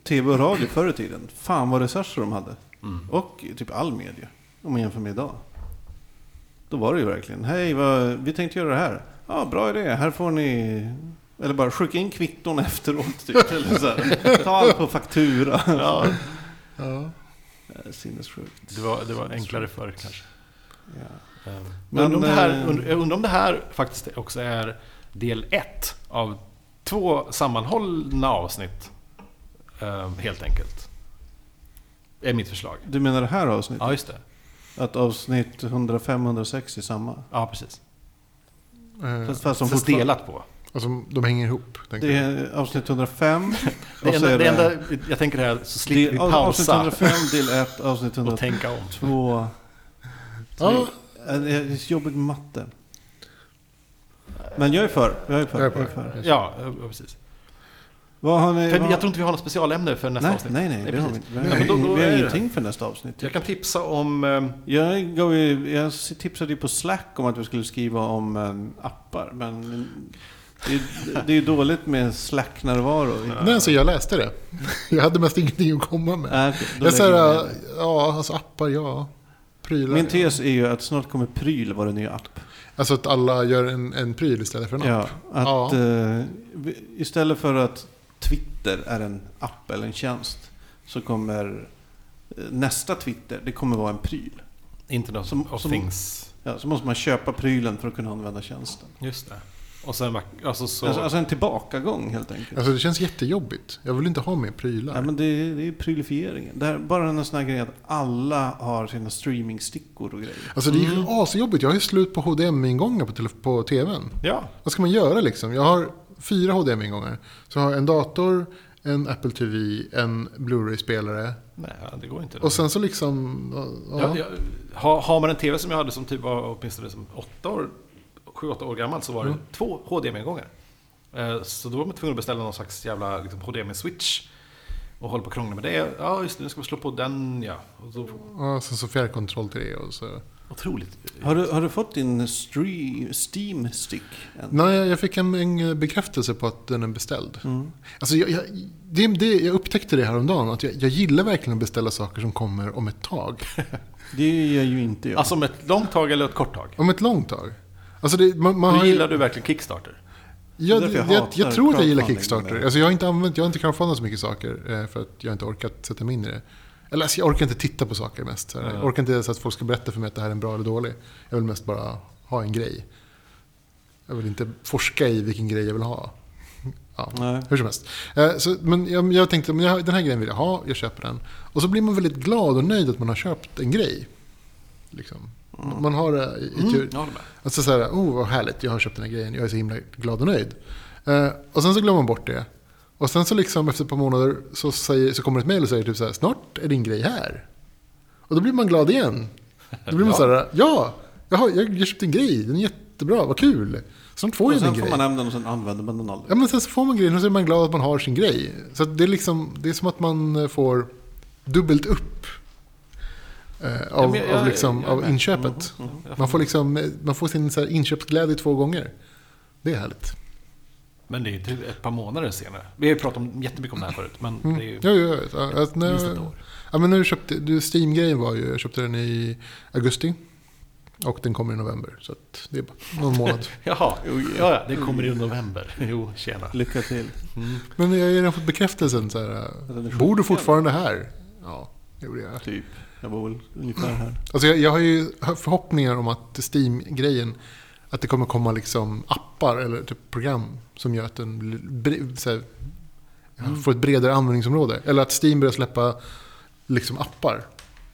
[SPEAKER 3] tv och radio förr i tiden. Fan vad resurser de hade.
[SPEAKER 1] Mm.
[SPEAKER 3] Och typ all media. Om man jämför med idag. Då var det ju verkligen. Hej, vad, vi tänkte göra det här. Ja, bra idé. Här får ni... Eller bara skicka in kvitton efteråt. Typ. Eller så här, ta allt på faktura. Ja.
[SPEAKER 2] Ja.
[SPEAKER 3] Sinnessjukt.
[SPEAKER 1] Det var, det var enklare förr kanske.
[SPEAKER 3] Ja.
[SPEAKER 1] Ehm,
[SPEAKER 3] Men,
[SPEAKER 1] Men ehm, undrar om det här,
[SPEAKER 3] eh,
[SPEAKER 1] und- jag undrar om det här faktiskt också är del ett av två sammanhållna avsnitt. ehm, Helt enkelt. Är mitt förslag.
[SPEAKER 3] Du menar det här avsnittet?
[SPEAKER 1] Ja, just det.
[SPEAKER 3] Att avsnitt 105, 106 är samma?
[SPEAKER 1] Ja, precis.
[SPEAKER 2] Eh,
[SPEAKER 3] Fast, fast som
[SPEAKER 1] Mm. Fast
[SPEAKER 3] fortfarande...
[SPEAKER 1] delat på.
[SPEAKER 2] Alltså, de hänger ihop. tänker
[SPEAKER 3] Det
[SPEAKER 2] jag.
[SPEAKER 3] är avsnitt 105.
[SPEAKER 1] Det
[SPEAKER 3] och så
[SPEAKER 1] enda,
[SPEAKER 3] är
[SPEAKER 1] det enda jag tänker är så slipper
[SPEAKER 3] det-
[SPEAKER 1] vi
[SPEAKER 3] Avsnitt
[SPEAKER 1] pausa
[SPEAKER 3] 105, del 1, avsnitt
[SPEAKER 1] och
[SPEAKER 3] 102.
[SPEAKER 1] tänka om.
[SPEAKER 2] Ja,
[SPEAKER 3] Det är så jobbigt med matte. Men jag är för. Jag är för.
[SPEAKER 2] jag är på
[SPEAKER 3] jag är för.
[SPEAKER 2] det.
[SPEAKER 1] Ja, eh, precis.
[SPEAKER 3] Vad har ni?
[SPEAKER 1] För
[SPEAKER 3] vad...
[SPEAKER 1] jag tror inte vi har något specialämne för nästa
[SPEAKER 3] nej,
[SPEAKER 1] avsnitt.
[SPEAKER 3] nej, nej, det har vi
[SPEAKER 1] precis.
[SPEAKER 3] inte. Vi har,
[SPEAKER 1] Ja, men då- då
[SPEAKER 3] vi
[SPEAKER 1] är
[SPEAKER 3] har
[SPEAKER 1] det.
[SPEAKER 3] ingenting för nästa avsnitt.
[SPEAKER 1] Jag kan tipsa om... ehm,
[SPEAKER 3] Jag, gav ju, jag tipsade ju på Slack om att vi skulle skriva om em, appar, men det är, det är ju dåligt med Slack-närvaro. i-
[SPEAKER 2] Nej, alltså, jag läste det. Jag hade mest ingenting att komma med.
[SPEAKER 3] Nej, okej, då
[SPEAKER 2] jag
[SPEAKER 3] lägger vi
[SPEAKER 2] säger,
[SPEAKER 3] ner det.
[SPEAKER 2] ja, alltså appar, ja. Prylar.
[SPEAKER 3] Min
[SPEAKER 2] ja.
[SPEAKER 3] tes är ju att snart kommer pryl vara en ny app.
[SPEAKER 2] Alltså att alla gör en, en pryl istället för en app.
[SPEAKER 3] Ja, att,
[SPEAKER 2] Ja.
[SPEAKER 3] eh, vi- istället för att Twitter är en app eller en tjänst så kommer eh, nästa Twitter, det kommer vara en pryl.
[SPEAKER 1] Internet
[SPEAKER 3] Som-
[SPEAKER 1] of
[SPEAKER 3] som-
[SPEAKER 1] Things.
[SPEAKER 3] Ja, så måste man köpa prylen för att kunna använda tjänsten.
[SPEAKER 1] Just det. Och sen... vack- Alltså, så...
[SPEAKER 3] Alltså, alltså en tillbakagång helt enkelt.
[SPEAKER 2] Alltså det känns jättejobbigt. Jag vill inte ha mer prylar.
[SPEAKER 3] Ja, men det, är- det är prylifieringen. Det här, bara en sån här grej att alla har sina streamingstickor och grejer.
[SPEAKER 2] Alltså det är
[SPEAKER 3] Mm.
[SPEAKER 2] ju asjobbigt. Jag har ju slut på HDMI-ingångar på, telef- på tvn.
[SPEAKER 1] Ja.
[SPEAKER 2] Vad ska man göra liksom? Jag har fyra HDMI-ingångar. Så jag har en dator, en Apple TV, en Blu-ray-spelare.
[SPEAKER 1] Nej, det går inte.
[SPEAKER 2] Och sen så liksom... Ja,
[SPEAKER 1] Ja, jag, har, har man en TV som jag hade som typ var åtminstone som åtta år, sju, åtta år gammal så var
[SPEAKER 2] Mm.
[SPEAKER 1] det två HDMI-gångar. Eh, Så då var man tvungen att beställa någon slags jävla liksom, HDMI-switch. Och hålla på och krångla med det. Ja, just det, nu ska vi slå på den ja. Och så,
[SPEAKER 2] ja, sen så fjärrkontroll till det och så.
[SPEAKER 1] otroligt.
[SPEAKER 3] Har du, har du fått din stream, Steam-stick än?
[SPEAKER 2] Nej, jag- jag fick en, en bekräftelse på att den är beställd.
[SPEAKER 1] Mm.
[SPEAKER 2] Alltså jag, jag, det, det, jag upptäckte det häromdagen, att jag, jag gillar verkligen att beställa saker som kommer om ett tag.
[SPEAKER 3] Det gör ju inte jag.
[SPEAKER 1] Alltså om ett långt tag eller ett kort tag.
[SPEAKER 2] Om ett långt tag. Alltså det, man, man har
[SPEAKER 1] Då
[SPEAKER 2] ju-
[SPEAKER 1] gillar du verkligen Kickstarter.
[SPEAKER 2] Jag,
[SPEAKER 3] Det är därför jag
[SPEAKER 2] jag, jag,
[SPEAKER 3] hatar
[SPEAKER 2] jag tror att jag gillar
[SPEAKER 3] crowdfunding.
[SPEAKER 2] Kickstarter. Alltså jag har inte använt, jag har inte crowdfundat så mycket saker eh, för att jag inte orkat sätta mig in i det. Eller alltså jag orkar inte titta på saker mest. så här. Jag orkar inte så att folk ska berätta för mig att det här är en bra eller dålig. Jag vill mest bara ha en grej. Jag vill inte forska i vilken grej jag vill ha. Ja,
[SPEAKER 3] Nej.
[SPEAKER 2] hur som helst. Eh, Så, men jag, jag tänkte, men jag, den här grejen vill jag ha, jag köper den. Och så blir man väldigt glad och nöjd att man har köpt en grej. Liksom.
[SPEAKER 3] Mm.
[SPEAKER 2] Man har det i, i tur.
[SPEAKER 1] Jag håller med.
[SPEAKER 2] Alltså så här, oh vad härligt, jag har köpt den här grejen, jag är så himla glad och nöjd. Eh, och sen så glömmer man bort det. Och sen så liksom efter ett par månader så, säger, så kommer ett mejl och säger typ så här, snart är din grej här. Och då blir man glad igen. Då blir man så här, ja, jaha, jag, jag köpte en grej, den är jättebra, vad kul. Snart får
[SPEAKER 3] och
[SPEAKER 2] jag
[SPEAKER 3] sen
[SPEAKER 2] din
[SPEAKER 3] får
[SPEAKER 2] grej.
[SPEAKER 3] man hem den och sen använder man den aldrig.
[SPEAKER 2] Ja, men sen så får man grejen och så är man glad att man har sin grej. Så att det, är liksom, det är som att man får dubbelt upp eh, av,
[SPEAKER 1] men jag-
[SPEAKER 2] av, liksom,
[SPEAKER 1] jag är
[SPEAKER 2] av
[SPEAKER 1] med. Mm,
[SPEAKER 2] inköpet. Man får, liksom, eh, man får sin så här inköpsglädje två gånger. Det är härligt.
[SPEAKER 1] Men det är ju inte ett par månader senare. Vi har ju pratat om, jättemycket om det här förut. Men det är ju...
[SPEAKER 2] Mm. Ja, ja, ja. Att när,
[SPEAKER 1] Minst ett år.
[SPEAKER 2] ja, men när du köpte, du, Steam-grejen var ju, jag köpte den i augusti. Och den kommer i november. Så att det är bara någon månad.
[SPEAKER 1] Jaha, ja, ja, det kommer i november. Jo, tjena. Mm.
[SPEAKER 3] Lycka till.
[SPEAKER 2] Men jag har ju redan fått bekräftelsen. Så här, eh, bor du fortfarande här? Ja, det gjorde jag.
[SPEAKER 3] Typ. Jag var väl ungefär här.
[SPEAKER 2] Alltså jag, jag har ju förhoppningar om att Steam-grejen, att det kommer komma liksom appar eller typ program som gör att den blir bre- så här, får ett bredare användningsområde. Eller att Steam börjar släppa liksom appar.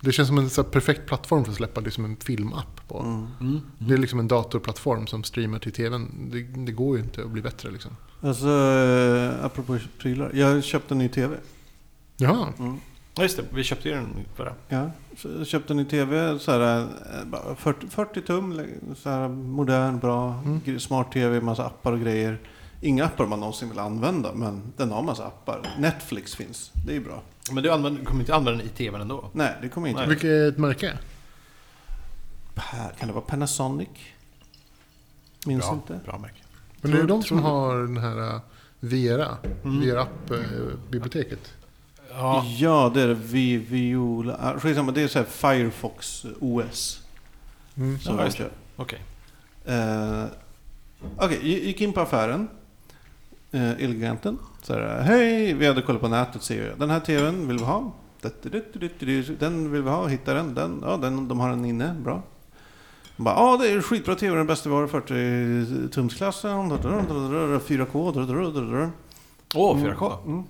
[SPEAKER 2] Det känns som en så här perfekt plattform för att släppa liksom en filmapp på.
[SPEAKER 3] Mm.
[SPEAKER 1] Mm.
[SPEAKER 2] Det är liksom en datorplattform som streamar till tvn. Det, det går ju inte att bli bättre liksom.
[SPEAKER 3] Alltså, eh, apropå prylar. Jag köpte en ny TV.
[SPEAKER 2] Jaha,
[SPEAKER 3] Mm.
[SPEAKER 1] Ja, just det. Vi köpte ju den förra.
[SPEAKER 3] Ja, så köpte en ny tv, så här, eh, bara 40, 40 tum, le- så här, modern, bra,
[SPEAKER 2] Mm.
[SPEAKER 3] gre- smart tv, massa appar och grejer. Inga appar man någonsin vill använda, men den har massa appar. Netflix finns, det är ju bra.
[SPEAKER 1] Men du använder, kommer inte använda den i tvn ändå?
[SPEAKER 3] Nej, det kommer jag inte.
[SPEAKER 1] Nej.
[SPEAKER 2] Vilket är ett märke?
[SPEAKER 3] Pa- Kan det vara Panasonic? Minns
[SPEAKER 1] bra,
[SPEAKER 3] inte.
[SPEAKER 1] bra märke.
[SPEAKER 2] Men det är ju
[SPEAKER 3] Tror-
[SPEAKER 2] de som
[SPEAKER 3] tror-
[SPEAKER 2] har den här eh, Vera, eh, Vera-app-biblioteket.
[SPEAKER 1] Ja,
[SPEAKER 3] Ja, det är det. Vi, Viola. ah, Skitsamma, det är så här Firefox OS.
[SPEAKER 2] Mm.
[SPEAKER 3] Som
[SPEAKER 1] Ja,
[SPEAKER 3] de
[SPEAKER 1] just
[SPEAKER 3] kör.
[SPEAKER 1] okej.
[SPEAKER 3] Eh, Okej, gi- gick in på affären. Eh, Elgiganten. Så här, hej, vi hade kollat på nätet ser jag. Den här tvn vill vi ha. Du-du-du-du-du-du. Den vill vi ha, hitta den. den. Ja, den de har den inne, bra. De bara, ja det är en skitbra tv, den bästa vi har i 40-tumsklassen. 4K. drudrudrudrudrudrudrudrudrudrudrudrudrudrudrudrudrudrudrudrudrudrudrudrudrudrudrudrudrudrudrudrud.
[SPEAKER 1] Åh, 4K.
[SPEAKER 3] Mm.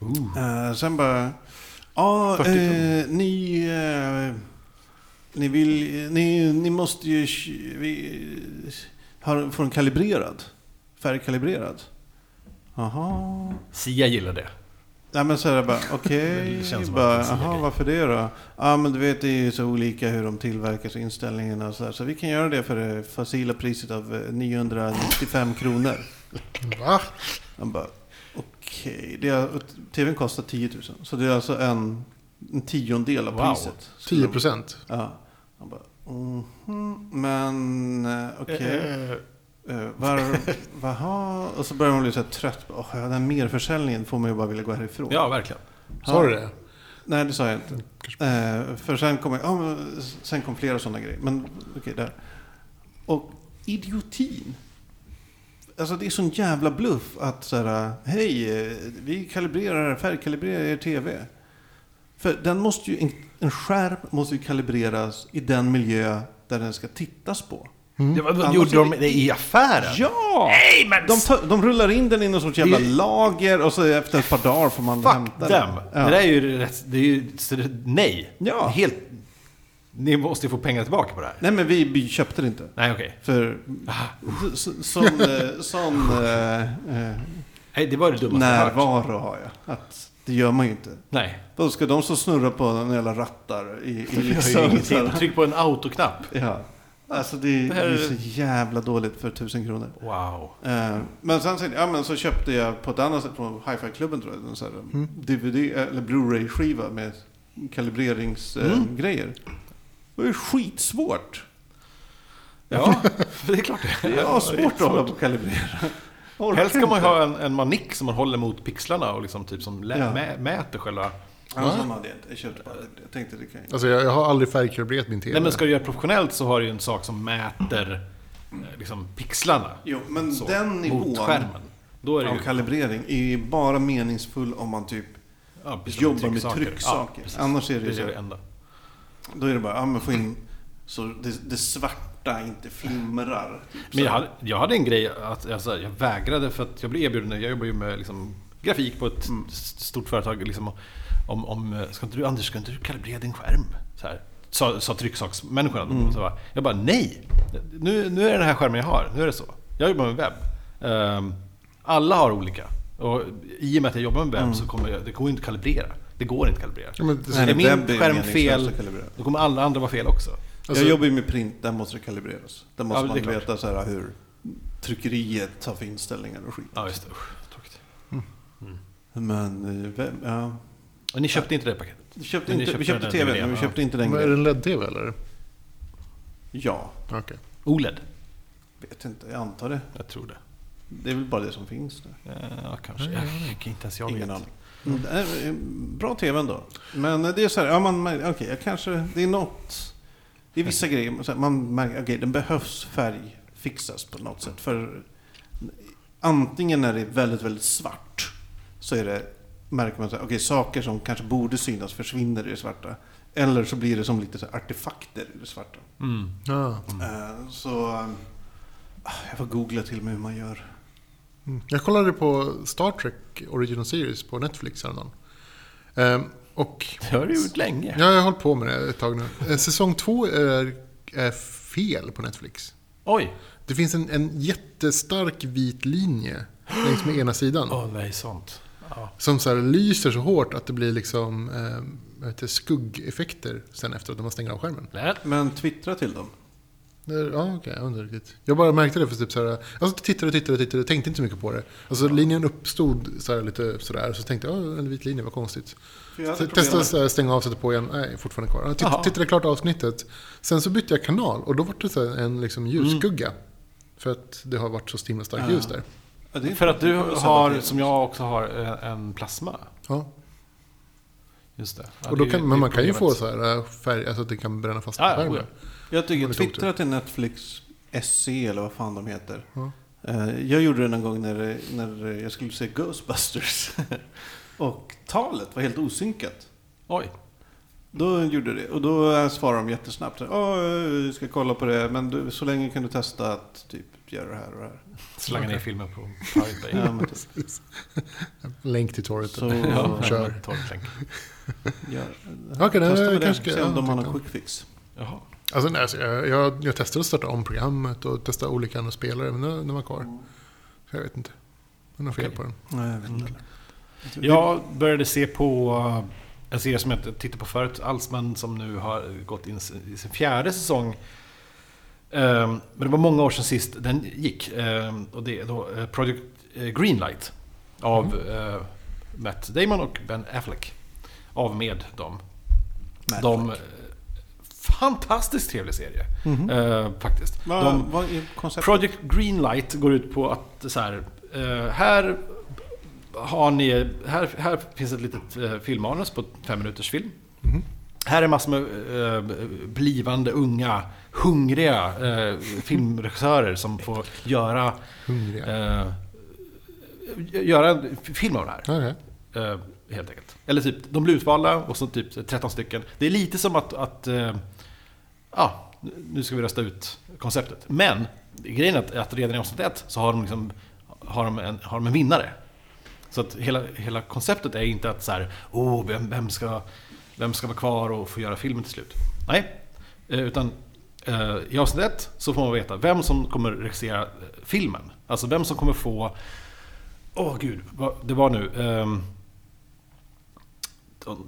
[SPEAKER 1] Ooh.
[SPEAKER 3] Eh, sen bara... Ja,
[SPEAKER 1] 40 tum.
[SPEAKER 3] eh, ni... Eh, ni vill... Ni, ni måste ju... sh- Vi, har, få den kalibrerad. Färgkalibrerad. Jaha.
[SPEAKER 1] Sia gillar det.
[SPEAKER 3] Nej men så är det bara, okej.
[SPEAKER 1] Det känns som
[SPEAKER 3] bara,
[SPEAKER 1] att det är en
[SPEAKER 3] Jaha,
[SPEAKER 1] grej."
[SPEAKER 3] varför det då? Ja men du vet det är ju så olika hur de tillverkar så inställningarna och sådär. Så vi kan göra det för det facila priset av eh, 995 kronor.
[SPEAKER 2] Va?
[SPEAKER 3] Han bara, okej. det är- TVn kostar 10 000. Så det är alltså en, en tiondel av
[SPEAKER 1] Wow.
[SPEAKER 3] priset. Så
[SPEAKER 2] 10
[SPEAKER 3] de-
[SPEAKER 2] procent?
[SPEAKER 3] Ja. Han bara, mhm, men eh, okej.
[SPEAKER 1] Eh,
[SPEAKER 3] Eh, var, vaha. Och så börjar man bli så här trött. Åh, ja, den här merförsäljningen får man ju bara vilja gå härifrån.
[SPEAKER 1] Ja, verkligen.
[SPEAKER 2] Sa du det?
[SPEAKER 3] Nej, det sa jag inte. Eh, för sen kom, jag, ja, men sen kom flera sådana grejer. Men okej, där. Och idiotin. Alltså det är sån jävla bluff att så här, hej, eh, vi kalibrerar, färgkalibrerar er TV. För den måste ju, en, en skärm måste ju kalibreras i den miljö där den ska tittas på.
[SPEAKER 1] Mm. Ja, alltså, men vad
[SPEAKER 3] Annars
[SPEAKER 1] gjorde
[SPEAKER 3] är
[SPEAKER 1] de det i affären?
[SPEAKER 3] Ja! Nej, men... de, tar, de rullar in den i någon sorts jävla
[SPEAKER 1] Det är-
[SPEAKER 3] lager och så efter ett par dagar får man hämta
[SPEAKER 1] Fuck them!
[SPEAKER 3] Ja.
[SPEAKER 1] Det där är ju rätt... Det är ju, så det, nej!
[SPEAKER 3] Ja.
[SPEAKER 1] Helt... Ni måste ju få pengar tillbaka på det här.
[SPEAKER 3] Nej, men vi by- köpte det inte.
[SPEAKER 1] Nej, okej.
[SPEAKER 3] För s- sån, eh, sån eh, eh,
[SPEAKER 1] Nej, det var det dummaste jag hört.
[SPEAKER 3] närvaro har jag. Att det gör man ju inte.
[SPEAKER 1] Nej.
[SPEAKER 3] Då ska de som snurrar på en jävla rattar i, i
[SPEAKER 1] Jag har ju
[SPEAKER 3] liksom... så
[SPEAKER 1] ingenting.
[SPEAKER 3] här-
[SPEAKER 1] Tryck på en autoknapp.
[SPEAKER 3] Ja. Alltså det,
[SPEAKER 1] Det
[SPEAKER 3] det
[SPEAKER 1] här
[SPEAKER 3] är
[SPEAKER 1] är-
[SPEAKER 3] ju så jävla dåligt för tusen kronor.
[SPEAKER 1] Wow.
[SPEAKER 3] Eh, men sen så, ja, men så köpte jag på ett annat sätt, på Hi-Fi-klubben tror jag, en sån här
[SPEAKER 1] Mm.
[SPEAKER 3] DVD eller Blu-ray-skiva med kalibreringsgrejer.
[SPEAKER 1] Mm.
[SPEAKER 3] Det var ju skitsvårt.
[SPEAKER 1] Ja, för det är klart det
[SPEAKER 3] Det är svårt att hålla på och kalibrera. Orkar
[SPEAKER 1] Helst ska man ju
[SPEAKER 3] inte.
[SPEAKER 1] ha en, en manick som man håller mot pixlarna och liksom typ som lä-
[SPEAKER 3] Ja.
[SPEAKER 1] mä- mäter själva...
[SPEAKER 3] Ja, sån hade jag inte. Jag köpte bara det. Jag tänkte det kan jag
[SPEAKER 2] Alltså jag, jag har aldrig färgkalibrerat min TV.
[SPEAKER 1] Nej men ska du göra professionellt så har du ju en sak som mäter eh, liksom pixlarna.
[SPEAKER 3] Jo, men
[SPEAKER 1] Så,
[SPEAKER 3] den
[SPEAKER 1] Mot
[SPEAKER 3] nivån
[SPEAKER 1] skärmen. Då är det
[SPEAKER 3] av
[SPEAKER 1] ju...
[SPEAKER 3] kalibrering är ju bara meningsfull om man typ
[SPEAKER 1] Ja, precis,
[SPEAKER 3] jobbar med trycksaker.
[SPEAKER 1] precis.
[SPEAKER 3] Annars är det
[SPEAKER 1] det
[SPEAKER 3] ju
[SPEAKER 1] är
[SPEAKER 3] så.
[SPEAKER 1] det enda.
[SPEAKER 3] Då är det bara, ja men få in så det, det svarta inte flimrar.
[SPEAKER 1] Men jag hade, jag hade en grej att alltså, jag vägrade för att jag blev erbjuden, jag jobbar ju med liksom, grafik på ett st- stort företag. Liksom, och- om, om, eh, ska inte du Anders, ska inte du kalibrera din skärm? Så här, sa, sa trycksaksmänniskorna. då. Så bara, jag bara nej, nu, nu är det den här skärmen jag har, nu är det så. Jag jobbar med webb. Ehm, alla har olika. Och I och med att jag jobbar med webb så kommer jag, det går ju inte att kalibrera. Det går inte att kalibrera.
[SPEAKER 2] Ja, men det-
[SPEAKER 3] Nej,
[SPEAKER 1] är liksom,
[SPEAKER 3] webb är
[SPEAKER 1] min skärm
[SPEAKER 3] meningslöst
[SPEAKER 1] fel,
[SPEAKER 3] att kalibrera.
[SPEAKER 1] då kommer alla andra vara fel också.
[SPEAKER 2] Alltså-
[SPEAKER 3] jag jobbar ju med print, där måste det kalibreras. Där måste
[SPEAKER 1] Ja,
[SPEAKER 3] man
[SPEAKER 1] det är klart.
[SPEAKER 3] veta så här hur tryckeriet tar för inställningar och skit.
[SPEAKER 1] Ja, just det. Usch, tråkigt.
[SPEAKER 3] Men eh, vem, ja.
[SPEAKER 1] Och ni köpte inte det paketet?
[SPEAKER 3] Vi köpte
[SPEAKER 1] Men ni
[SPEAKER 3] inte, vi
[SPEAKER 1] köpte
[SPEAKER 3] köpte
[SPEAKER 1] den
[SPEAKER 3] tvn,
[SPEAKER 1] DVDn,
[SPEAKER 3] men vi
[SPEAKER 1] ja.
[SPEAKER 3] köpte inte den
[SPEAKER 2] Men är det
[SPEAKER 3] grejen.
[SPEAKER 2] en LED-TV eller?
[SPEAKER 3] Ja,
[SPEAKER 2] Okej.
[SPEAKER 1] OLED?
[SPEAKER 3] vet inte, jag antar det.
[SPEAKER 1] Jag tror det.
[SPEAKER 3] Det är väl bara det som finns där.
[SPEAKER 1] Eh, Ja, kanske. Jag kan inte ens jag
[SPEAKER 3] Ingen
[SPEAKER 1] vet.
[SPEAKER 3] aning. Mm. det är, eh, Bra tv ändå. Men eh, det är så här, ja, man, mär- okej, jag kanske, det är något. Det är vissa grejer, så här, man märker, okej, den behövs färgfixas på något sätt. För antingen när det är väldigt, väldigt svart så är det, märker man så här, okej, saker som kanske borde synas försvinner i det svarta. Eller så blir det som lite så här, artefakter i det svarta.
[SPEAKER 1] Mm.
[SPEAKER 2] Ja.
[SPEAKER 3] Eh, Så, eh, jag får googla till mig hur man gör.
[SPEAKER 2] Mm. Jag kollade på Star Trek Original Series på Netflix häromdagen. Ehm, och
[SPEAKER 1] Det har du gjort länge.
[SPEAKER 2] ja, jag har hållit på med det ett tag nu. Eh, Säsong två är, är fel på Netflix.
[SPEAKER 1] Oj!
[SPEAKER 2] Det finns en, en jättestark vit linje längs med ena sidan.
[SPEAKER 1] Åh nej, sånt. Ja.
[SPEAKER 2] Som så här lyser så hårt att det blir liksom eh, vad heter det, skuggeffekter sen efter att man stänger av skärmen.
[SPEAKER 1] Nej.
[SPEAKER 3] Men twittra till dem.
[SPEAKER 2] Det är- Ja, okej, jag undrar riktigt. Jag bara märkte det för typ så här, alltså tittade, tittade, tittade, tänkte inte så mycket på det. Alltså linjen uppstod så här lite sådär, så tänkte jag, "Åh, en vit linje, vad konstigt.
[SPEAKER 3] För jag hade
[SPEAKER 2] Så
[SPEAKER 3] problem
[SPEAKER 2] Testade
[SPEAKER 3] med-
[SPEAKER 2] så här, stänga av, sätta på igen, nej, fortfarande kvar. Jag
[SPEAKER 1] Jaha.
[SPEAKER 2] titt, tittade klart avsnittet, sen så bytte jag kanal och då var det så här en liksom ljusskugga.
[SPEAKER 1] Mm.
[SPEAKER 2] För att det har varit så himla starkt
[SPEAKER 1] Ah.
[SPEAKER 2] ljus där.
[SPEAKER 3] Ja, det är
[SPEAKER 1] För att du
[SPEAKER 3] inte-
[SPEAKER 1] har, som jag också har, eh, en plasma.
[SPEAKER 2] Ja.
[SPEAKER 1] Just det. Ja,
[SPEAKER 2] Och då
[SPEAKER 1] det är-
[SPEAKER 2] kan,
[SPEAKER 1] det
[SPEAKER 2] men
[SPEAKER 1] är
[SPEAKER 2] man kan ju få
[SPEAKER 1] problemet.
[SPEAKER 2] så här äh, färg, alltså att det kan bränna fast på
[SPEAKER 1] Ja, ja,
[SPEAKER 2] skärmen.
[SPEAKER 1] oja.
[SPEAKER 3] Jag tycker
[SPEAKER 2] Om det är
[SPEAKER 3] twittra till Netflix SC eller vad fan de heter.
[SPEAKER 2] Ja.
[SPEAKER 3] Eh, Jag gjorde det en gång när, det- när jag skulle se Ghostbusters. och talet var helt osynkat.
[SPEAKER 1] Oj.
[SPEAKER 3] Då gjorde jag det. Och då eh, svarade de jättesnabbt. Åh, vi ska kolla på det, men du, så länge kan du testa att typ göra det här och det här.
[SPEAKER 1] Slanga ner filmen på Pirate Bay.
[SPEAKER 3] Ja, men typ.
[SPEAKER 2] Länk till torret.
[SPEAKER 3] Så
[SPEAKER 1] Ja,
[SPEAKER 2] Kör.
[SPEAKER 1] en torrklänk.
[SPEAKER 3] gör,
[SPEAKER 2] Okej, nej,
[SPEAKER 3] testa med det.
[SPEAKER 2] kanske ska-
[SPEAKER 3] Se om
[SPEAKER 2] ja,
[SPEAKER 3] de har någon
[SPEAKER 2] tänkte
[SPEAKER 3] quick fix.
[SPEAKER 1] Jaha.
[SPEAKER 2] Alltså, nej, alltså, jag, jag, jag testade att starta om programmet och testa olika andra spelare, men den den var kvar. Så jag vet inte. Den har fel
[SPEAKER 1] Okej.
[SPEAKER 2] på den.
[SPEAKER 3] Nej, jag vet inte.
[SPEAKER 1] Jag började se på eh, en serie som jag inte tittade på förut alls, men som nu har gått in sin- i sin fjärde säsong. Ehm, Men det var många år sedan sist den gick. Ehm, Och det är då eh, Project eh, Greenlight. Av
[SPEAKER 3] Mm.
[SPEAKER 1] eh, Matt Damon och Ben Affleck. Av med dem.
[SPEAKER 3] Matt
[SPEAKER 1] De, eh, fantastiskt trevlig serie. eh, Faktiskt.
[SPEAKER 3] Mhm. Mm. Vad,
[SPEAKER 1] De-
[SPEAKER 3] vad är konceptet?
[SPEAKER 1] Project Greenlight går ut på att så här, eh, här har ni, här, här finns ett litet eh, filmmanus på fem minuters film. Här är massor med eh, blivande unga, hungriga eh, filmregissörer som får göra,
[SPEAKER 2] Hungriga.
[SPEAKER 1] eh, göra en film av det här.
[SPEAKER 2] Okej.
[SPEAKER 1] Eh, helt enkelt. Eller typ, de blir utvalda och så typ 13 stycken. Det är lite som att, att eh, ja, nu ska vi rösta ut konceptet. Men grejen är att, att redan i avsnitt ett så har de, liksom, har de, en, har de en vinnare. Så att hela, hela konceptet är inte att så här, oh, vem, vem, ska, vem ska vara kvar och få göra filmen till slut? Nej, eh, utan eh, i avsnitt ett så får man veta vem som kommer regissera eh, filmen. Alltså vem som kommer få, åh gud, vad det var nu, ehm,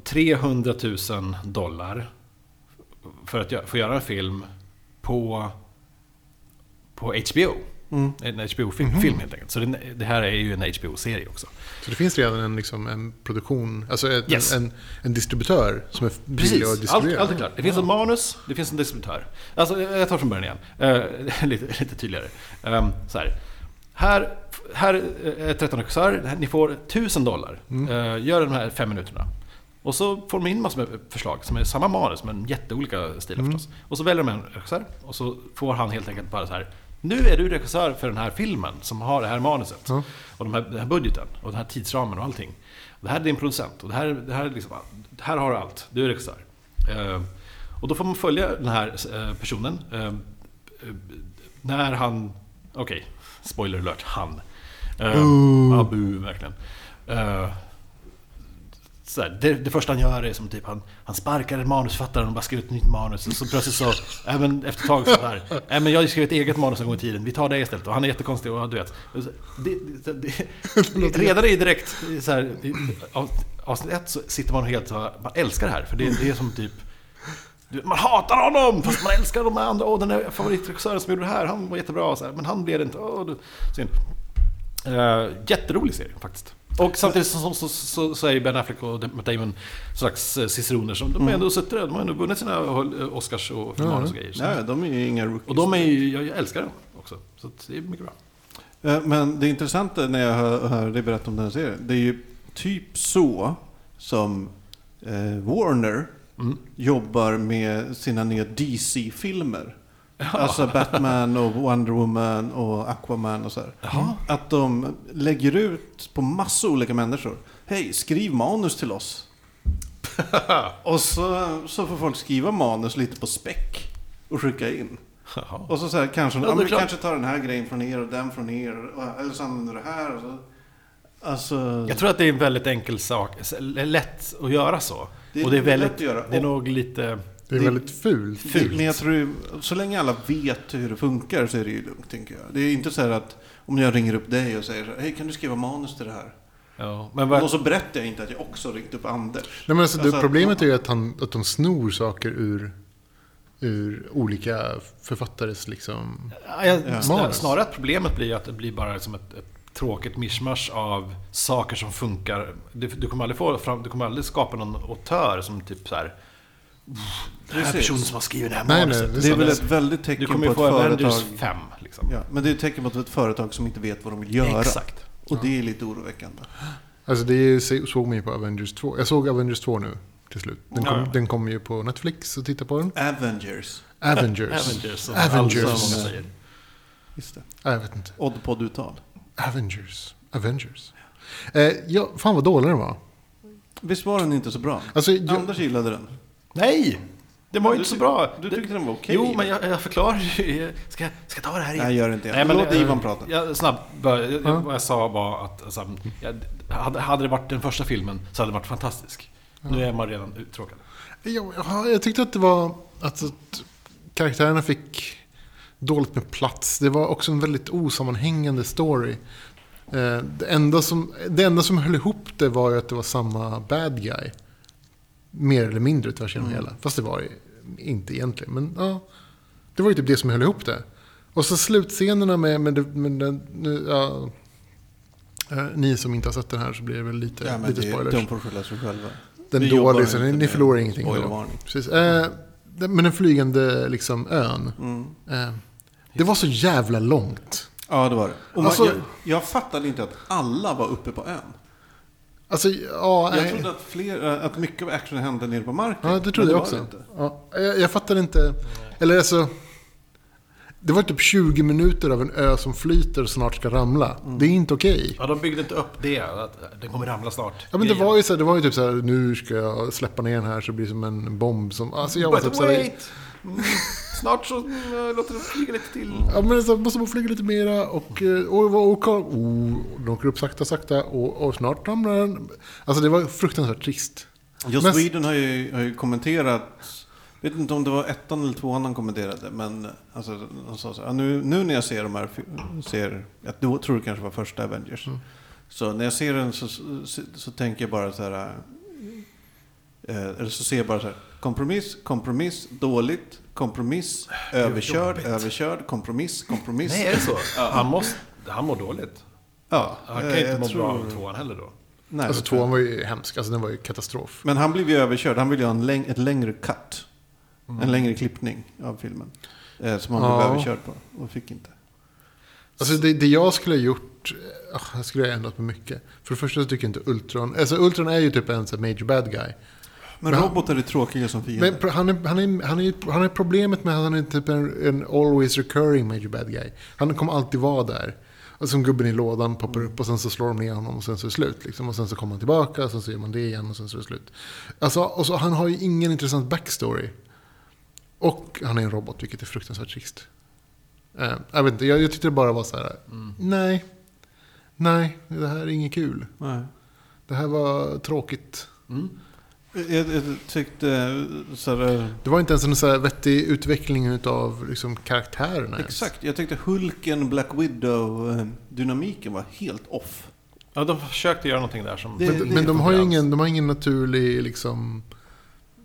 [SPEAKER 1] 300 000 dollar för att gö- få göra en film på, på HBO. En HBO-film helt enkelt. Så det, det här är ju en HBO-serie också.
[SPEAKER 2] Så det finns redan en, liksom, en produktion, alltså ett,
[SPEAKER 1] Yes.
[SPEAKER 2] en, en distributör som är villig att
[SPEAKER 1] Precis, allt,
[SPEAKER 2] distribuera.
[SPEAKER 1] allt är klart. Det finns ett manus, det finns en distributör. Alltså, jag tar från början igen. Eh, lite, lite tydligare. Ehm, så här. Här, här är 13 regissörer, Det här- ni får 1000 dollar. Eh, gör de här fem minuterna. Och så får de in massor med förslag som är samma manus men jätteolika stilar förstås. Och så väljer de en regissör och så får han helt enkelt bara så här. Nu är du regissör för den här filmen som har det här manuset.
[SPEAKER 2] Ja.
[SPEAKER 1] Och de här, den här budgeten och den här tidsramen och allting. Och det här är din producent och det här, det här, är liksom, allt. här har du allt. Du är regissör. Eh, och då får man följa den här eh, personen. Eh, eh, när han... Okej, spoiler alert. Han. Eh, ja, bu, verkligen. Eh, så här, det, det första han gör är som typ han, han sparkar en manusförfattare och bara skriver ett nytt manus. Och så plötsligt så, även efter ett tag så här, "Nej, men jag har ju skrivit ett eget manus en gång i tiden, vi tar det istället. Och han är jättekonstig och du vet. Det, det, det, det, redan i direkt, så här, i, av, avsnitt ett så sitter man helt så här, man älskar det här. För det, det är som typ, du vet, man hatar honom fast man älskar de andra. Åh, den där favoritregissören som gjorde det här, han var jättebra. Så här, men han blev det inte. Åh, du, synd. Uh, jätterolig serie faktiskt. Och samtidigt så, så, så, så är ju Ben Affleck och Matt Damon slags eh, ciceroner som de har ändå suttit där, de har ändå vunnit sina eh, Oscars och filmer och grejer. Så.
[SPEAKER 3] Nej, de är ju inga rookies.
[SPEAKER 1] Och de är ju, jag, jag älskar dem också. Så att det är mycket bra.
[SPEAKER 3] Eh, Men det intressanta när jag hör, hör dig berätta om den här serien, det är ju typ så som eh, Warner jobbar med sina nya DC-filmer. Alltså Batman och Wonder Woman och Aquaman och så här. Att de lägger ut på massa olika människor. Hej, skriv manus till oss. och så, så får folk skriva manus lite på späck och skicka in.
[SPEAKER 1] Jaha.
[SPEAKER 3] Och så, så här, kanske,
[SPEAKER 1] Ja,
[SPEAKER 3] ja,
[SPEAKER 1] det är
[SPEAKER 3] men vi
[SPEAKER 1] klart.
[SPEAKER 3] kanske tar den här grejen från er och den från er. och- Eller så använder du det här. Och så. Alltså,
[SPEAKER 1] Jag tror att det är en väldigt enkel sak, s- lätt att göra så.
[SPEAKER 3] Det är
[SPEAKER 1] och det är
[SPEAKER 3] lätt
[SPEAKER 1] väldigt,
[SPEAKER 3] att göra.
[SPEAKER 1] det är
[SPEAKER 3] Och-
[SPEAKER 1] nog lite...
[SPEAKER 2] Det är
[SPEAKER 3] Det-
[SPEAKER 2] väldigt fult.
[SPEAKER 3] det, men jag tror ju- så länge alla vet hur det funkar så är det ju lugnt, tänker jag. Det är inte så här att om jag ringer upp dig och säger så här, hej kan du skriva manus till det här?
[SPEAKER 1] Ja, men
[SPEAKER 3] Och
[SPEAKER 1] vad...
[SPEAKER 3] så berättade jag inte att jag också ringt upp Anders.
[SPEAKER 2] Nej, men alltså,
[SPEAKER 3] Alltså,
[SPEAKER 2] det, problemet är ju att, han, att de snor saker ur, ur olika författares liksom...
[SPEAKER 1] Ja, jag, snar,
[SPEAKER 2] Manus.
[SPEAKER 1] snarare att problemet blir att det blir bara som ett, ett tråkigt mischmasch av saker som funkar. Du, du kommer aldrig få fram, du kommer aldrig skapa någon autör som typ så här. Den här
[SPEAKER 3] Precis.
[SPEAKER 1] personen som har skrivit det här
[SPEAKER 2] Nej,
[SPEAKER 1] manuset.
[SPEAKER 2] nej, det
[SPEAKER 3] Det är väl
[SPEAKER 2] sant.
[SPEAKER 3] ett väldigt
[SPEAKER 1] Du
[SPEAKER 3] tecken
[SPEAKER 1] kommer
[SPEAKER 3] på
[SPEAKER 1] ju
[SPEAKER 3] ett
[SPEAKER 1] få
[SPEAKER 3] företag...
[SPEAKER 1] Avengers 5 liksom.
[SPEAKER 3] Ja, men det är ett tecken på ett företag som inte vet vad de vill göra.
[SPEAKER 1] Exakt.
[SPEAKER 3] Och det är lite oroväckande.
[SPEAKER 2] Alltså det är, så- såg man ju på Avengers 2. Jag såg Avengers 2 nu till slut. Den kom,
[SPEAKER 1] Ja.
[SPEAKER 2] den kom ju på Netflix och titta på den.
[SPEAKER 3] Avengers.
[SPEAKER 2] Avengers.
[SPEAKER 1] Avengers. som
[SPEAKER 2] Avengers.
[SPEAKER 1] alla så många säger.
[SPEAKER 3] Just det.
[SPEAKER 2] Ja, jag vet inte.
[SPEAKER 3] Oddpodd-uttal.
[SPEAKER 2] Avengers. Avengers. Eh, ja, fan vad dålig den var.
[SPEAKER 3] Visst var den inte så bra?
[SPEAKER 2] Alltså, jag,
[SPEAKER 3] Anders gillade den.
[SPEAKER 1] Nej! Det var ju
[SPEAKER 3] Du
[SPEAKER 1] inte så
[SPEAKER 3] tyck-
[SPEAKER 1] bra.
[SPEAKER 3] Du
[SPEAKER 1] Det-
[SPEAKER 3] tyckte den var okej?
[SPEAKER 1] Jo, men jag, jag förklarar ju. Ska, jag- ska jag ta det här igen?
[SPEAKER 3] Nej, gör inte det.
[SPEAKER 1] Nej, men
[SPEAKER 3] Låt
[SPEAKER 1] jag-
[SPEAKER 3] Ivan prata.
[SPEAKER 1] Jag, snabbt, bara, jag,
[SPEAKER 2] Ja.
[SPEAKER 1] jag, vad jag sa var att alltså, jag, hade, hade det varit den första filmen så hade den varit fantastisk. Nu är man redan uttråkad.
[SPEAKER 2] jag, jag, jag tyckte att det var... Att, att karaktärerna fick dåligt med plats. Det var också en väldigt osammanhängande story. Eh, det, enda som, det enda som höll ihop det var ju att det var samma bad guy. Mer eller mindre tvärs igenom
[SPEAKER 3] Mm.
[SPEAKER 2] hela. Fast det var det inte egentligen. Men ja, det var ju typ det som höll ihop det. Och så slutscenerna med... med, det- med, den- nu, ja, eh, ni som inte har sett den här så blir det väl lite,
[SPEAKER 3] Ja, men
[SPEAKER 2] lite
[SPEAKER 3] det,
[SPEAKER 2] spoilers.
[SPEAKER 3] de får skylla sig själva.
[SPEAKER 2] Den
[SPEAKER 3] Vi jobbar
[SPEAKER 2] dåliga, så
[SPEAKER 3] inte
[SPEAKER 2] ni, ni
[SPEAKER 3] med
[SPEAKER 2] förlorar ingenting då.
[SPEAKER 3] spoilervarning.
[SPEAKER 2] Precis. Eh, den- men den flygande liksom, ön. Eh, det var så jävla långt.
[SPEAKER 3] Mm. Ja, det var det. Och man,
[SPEAKER 2] Alltså-
[SPEAKER 3] jag, jag fattade inte att alla var uppe på ön.
[SPEAKER 2] Alltså, ja,
[SPEAKER 3] Jag
[SPEAKER 2] nej.
[SPEAKER 3] trodde att, fler, äh, att mycket av action hände nere på marken.
[SPEAKER 2] ja, det trodde
[SPEAKER 3] men
[SPEAKER 2] jag
[SPEAKER 3] var det
[SPEAKER 2] också.
[SPEAKER 3] inte.
[SPEAKER 2] Ja, jag, jag fattar inte. Eller alltså, det var typ 20 minuter av en ö som flyter och snart ska ramla.
[SPEAKER 3] Mm.
[SPEAKER 2] Det är inte okej.
[SPEAKER 1] Ja, de byggde inte upp det. Att den kommer ramla snart.
[SPEAKER 2] Ja, men det, var ju så här, det var ju typ så här, nu ska jag släppa ner den här så det blir som en bomb som... Alltså, jag var
[SPEAKER 1] But
[SPEAKER 2] typ så här,
[SPEAKER 1] wait! Mm, snart så mm, låter den flyga lite till.
[SPEAKER 3] Mm.
[SPEAKER 2] Ja, men så måste man flyga lite mera och, eh, och, och, och, och de åker upp sakta, sakta och, och snart ramlar den. Alltså det var fruktansvärt trist.
[SPEAKER 3] Joss
[SPEAKER 2] Men-
[SPEAKER 3] Whedon har ju, har ju kommenterat, vet inte om det var ettan eller tvåan han kommenterade, men alltså, han sa så här, "Ja, nu, nu när jag ser de här, fi- ser, jag då tror det kanske var första Avengers,
[SPEAKER 2] Mm.
[SPEAKER 3] så när jag ser den så, så, så tänker jag bara så här, eh, eller så ser jag bara så här, kompromiss, kompromiss, dåligt, kompromiss, överkörd, överkörd, kompromiss, kompromiss.
[SPEAKER 1] Nej, är det så? Han, måste, han mår dåligt.
[SPEAKER 3] ja,
[SPEAKER 1] Han kan
[SPEAKER 3] eh,
[SPEAKER 1] ju inte
[SPEAKER 3] jag
[SPEAKER 1] må bra
[SPEAKER 3] tror-
[SPEAKER 1] av tvåan heller då.
[SPEAKER 3] Nej,
[SPEAKER 2] Alltså
[SPEAKER 3] jag tror-
[SPEAKER 2] tvåan var ju hemsk, alltså den var ju katastrof.
[SPEAKER 3] Men han blev ju överkörd. Han ville ju ha en läng ett längre cut.
[SPEAKER 1] Mm.
[SPEAKER 3] En längre klippning av filmen. Eh, som han
[SPEAKER 2] Ja.
[SPEAKER 3] blev överkörd på och fick inte.
[SPEAKER 2] Alltså det, det jag skulle ha gjort, eh, jag skulle ha ändrat på mycket. För det första så tycker jag inte Ultron, alltså Ultron är ju typ en sån här major bad guy.
[SPEAKER 3] Men,
[SPEAKER 2] Men han-
[SPEAKER 3] robotar är tråkiga som fiender.
[SPEAKER 2] Men pro- han är, han, är, han, är, han är problemet med att han är typ en, en always recurring major bad guy. Han kommer alltid vara där. Och som gubben i lådan poppar upp och sen så slår de ner honom och sen så är det slut. Liksom. Och sen så kommer han tillbaka och sen så gör man det igen och sen så är det slut. Alltså, och så, han har ju ingen intressant backstory. Och han är en robot, vilket är fruktansvärt trist. Eh, jag, vet inte, jag, jag tyckte det bara var så här, nej, nej, det här är inget kul.
[SPEAKER 3] Nej.
[SPEAKER 2] Det här var tråkigt.
[SPEAKER 3] Jag, jag tyckte eh, så här,
[SPEAKER 2] Det var inte ens en så här vettig utveckling av liksom karaktärerna. ens.
[SPEAKER 3] Exakt. Jag tyckte Hulken, Black Widow, eh, dynamiken var helt off.
[SPEAKER 1] Ja, de försökte göra någonting där som...
[SPEAKER 3] Det-
[SPEAKER 2] Men, men de, har ju
[SPEAKER 1] konkurrens.
[SPEAKER 2] ingen, de har ingen naturlig liksom...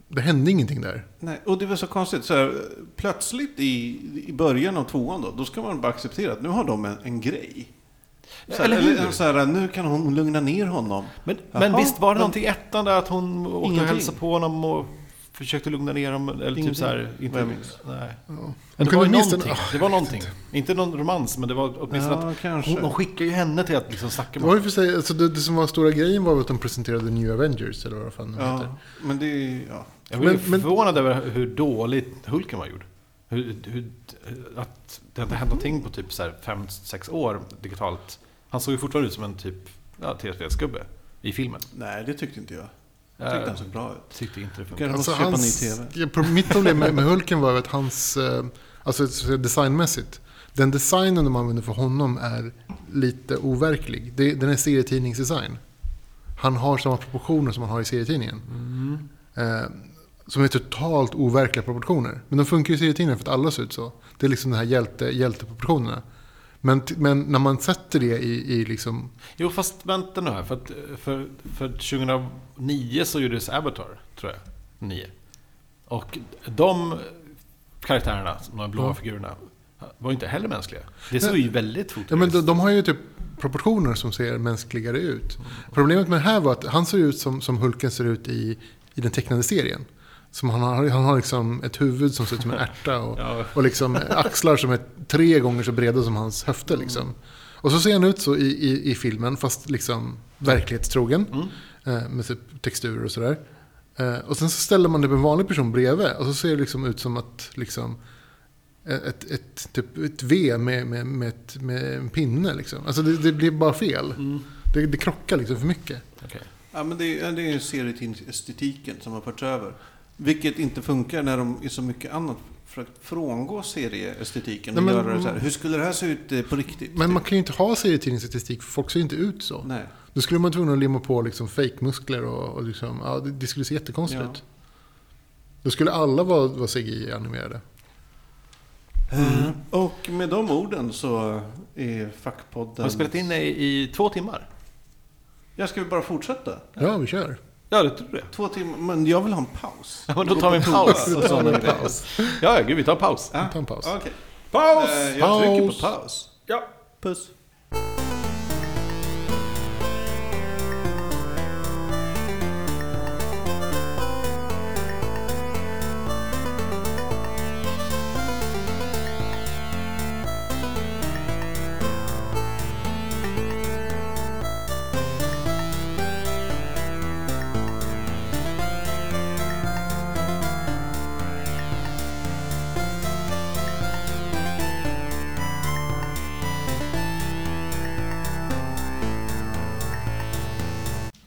[SPEAKER 2] Det hände ingenting där.
[SPEAKER 3] Nej, och det var så konstigt. Så här, eh, plötsligt i, i början av tvåan då, då ska man bara acceptera att nu har de en, en grej. Så här,
[SPEAKER 1] Eller hur?
[SPEAKER 3] en så här, nu kan hon lugna ner honom.
[SPEAKER 1] Men,
[SPEAKER 3] Jaha,
[SPEAKER 1] men visst var det
[SPEAKER 3] men-
[SPEAKER 1] någonting i ettan där att hon åkte
[SPEAKER 3] Ingenting.
[SPEAKER 1] och hälsade på honom och försökte lugna ner honom? Eller
[SPEAKER 3] Ingenting,
[SPEAKER 1] typ så här,
[SPEAKER 3] vad jag minns.
[SPEAKER 1] Nej. Men
[SPEAKER 2] Hon
[SPEAKER 1] det var
[SPEAKER 2] kunde
[SPEAKER 1] ju
[SPEAKER 2] minst en-
[SPEAKER 1] någonting.
[SPEAKER 2] Ah,
[SPEAKER 1] det var någonting. Inte någon romans, men det var åtminstone
[SPEAKER 3] Ja,
[SPEAKER 1] att
[SPEAKER 3] kanske.
[SPEAKER 1] hon, de skickar ju henne till att liksom snacka
[SPEAKER 2] Det
[SPEAKER 1] med
[SPEAKER 2] var
[SPEAKER 1] honom.
[SPEAKER 2] ju för sig, alltså det, det som var stora grejen var väl att de presenterade New Avengers eller vad fan de Mm. heter.
[SPEAKER 3] Ja, men det är... Ja.
[SPEAKER 1] Jag blev
[SPEAKER 2] men- men-
[SPEAKER 1] förvånad över hur dåligt Hulken var gjord. Hur, hur, att det inte hänt någonting på typ 5-6 år digitalt. Han såg ju fortfarande ut som en typ ja, TSV-gubbe i filmen.
[SPEAKER 3] Nej, det tyckte inte jag. Jag tyckte
[SPEAKER 1] Jag
[SPEAKER 3] han såg bra ut.
[SPEAKER 1] tyckte inte det
[SPEAKER 3] Jag
[SPEAKER 1] funkade.
[SPEAKER 3] måste köpa ny TV.
[SPEAKER 2] ja, Alltså, pro- mitt problem med, med Hulken var ju att hans, eh, alltså så designmässigt, den designen de använder för honom är lite overklig. Det, den är serietidningsdesign. Han har samma proportioner som han har i serietidningen.
[SPEAKER 3] Mm.
[SPEAKER 2] Eh, som är totalt overkliga proportioner. Men de funkar ju i serietidningen för att alla ser ut så. Det är liksom de här hjälte, hjälteproportionerna. Men, t- men när man sätter det i, i liksom...
[SPEAKER 1] Jo, fast vänta nu här. För, att, för, för 2009 så gjordes Avatar, tror jag. 9. Och de karaktärerna, de blåa
[SPEAKER 2] Ja.
[SPEAKER 1] figurerna, var ju inte heller mänskliga. Det såg ju väldigt
[SPEAKER 2] Ja, men
[SPEAKER 1] futuristiskt
[SPEAKER 2] de, de har ju typ proportioner som ser mänskligare ut. Problemet med det här var att han ser ut som, som Hulken ser ut i, i den tecknade serien. Som han, har, han har liksom ett huvud som ser ut som en ärta och,
[SPEAKER 1] Ja.
[SPEAKER 2] och liksom axlar som är tre gånger så breda som hans höfter. Liksom. Och så ser han ut så i, i, i filmen, fast liksom verklighetstrogen. Eh, med typ texturer och sådär. Eh, och sen så ställer man typ en vanlig person bredvid och så ser det liksom ut som att liksom, ett, ett, typ ett V med, med, med, ett, med en pinne. Liksom. Alltså det, det blir bara fel. Det, det krockar liksom för mycket.
[SPEAKER 1] Okej.
[SPEAKER 3] Ja, men det, är- det är ju serietidningsestetiken som har förts över. Vilket inte funkar när de i så mycket annat försökt frångå serieestetiken och
[SPEAKER 2] Nej, men-
[SPEAKER 3] göra det så här. Hur skulle det här se ut eh, på riktigt?
[SPEAKER 2] Men man kan ju inte ha serietidningsstatistik för folk ser ju inte ut så.
[SPEAKER 3] Nej.
[SPEAKER 2] Då skulle man tvungen att limma på liksom fake-muskler och, och liksom, ja, det, det skulle se jättekonstigt
[SPEAKER 3] Ja.
[SPEAKER 2] ut. Då skulle alla vara, vara CGI-animerade.
[SPEAKER 3] Och med de orden så är
[SPEAKER 1] Har
[SPEAKER 3] fackpodden...
[SPEAKER 1] vi spelat in i, i två timmar?
[SPEAKER 3] Jag ska vi bara fortsätta?
[SPEAKER 2] Ja, vi kör.
[SPEAKER 1] Ja, det tror jag.
[SPEAKER 3] Två timmar, men jag vill ha en paus.
[SPEAKER 1] Ja, men då tar vi en paus.
[SPEAKER 2] Vi tar en paus.
[SPEAKER 1] Ja, ja, gud, vi tar en paus.
[SPEAKER 2] Vi tar en paus.
[SPEAKER 3] Okej.
[SPEAKER 1] Paus!
[SPEAKER 3] Eh, Jag trycker
[SPEAKER 2] Paus.
[SPEAKER 3] på paus.
[SPEAKER 1] Ja.
[SPEAKER 3] Puss.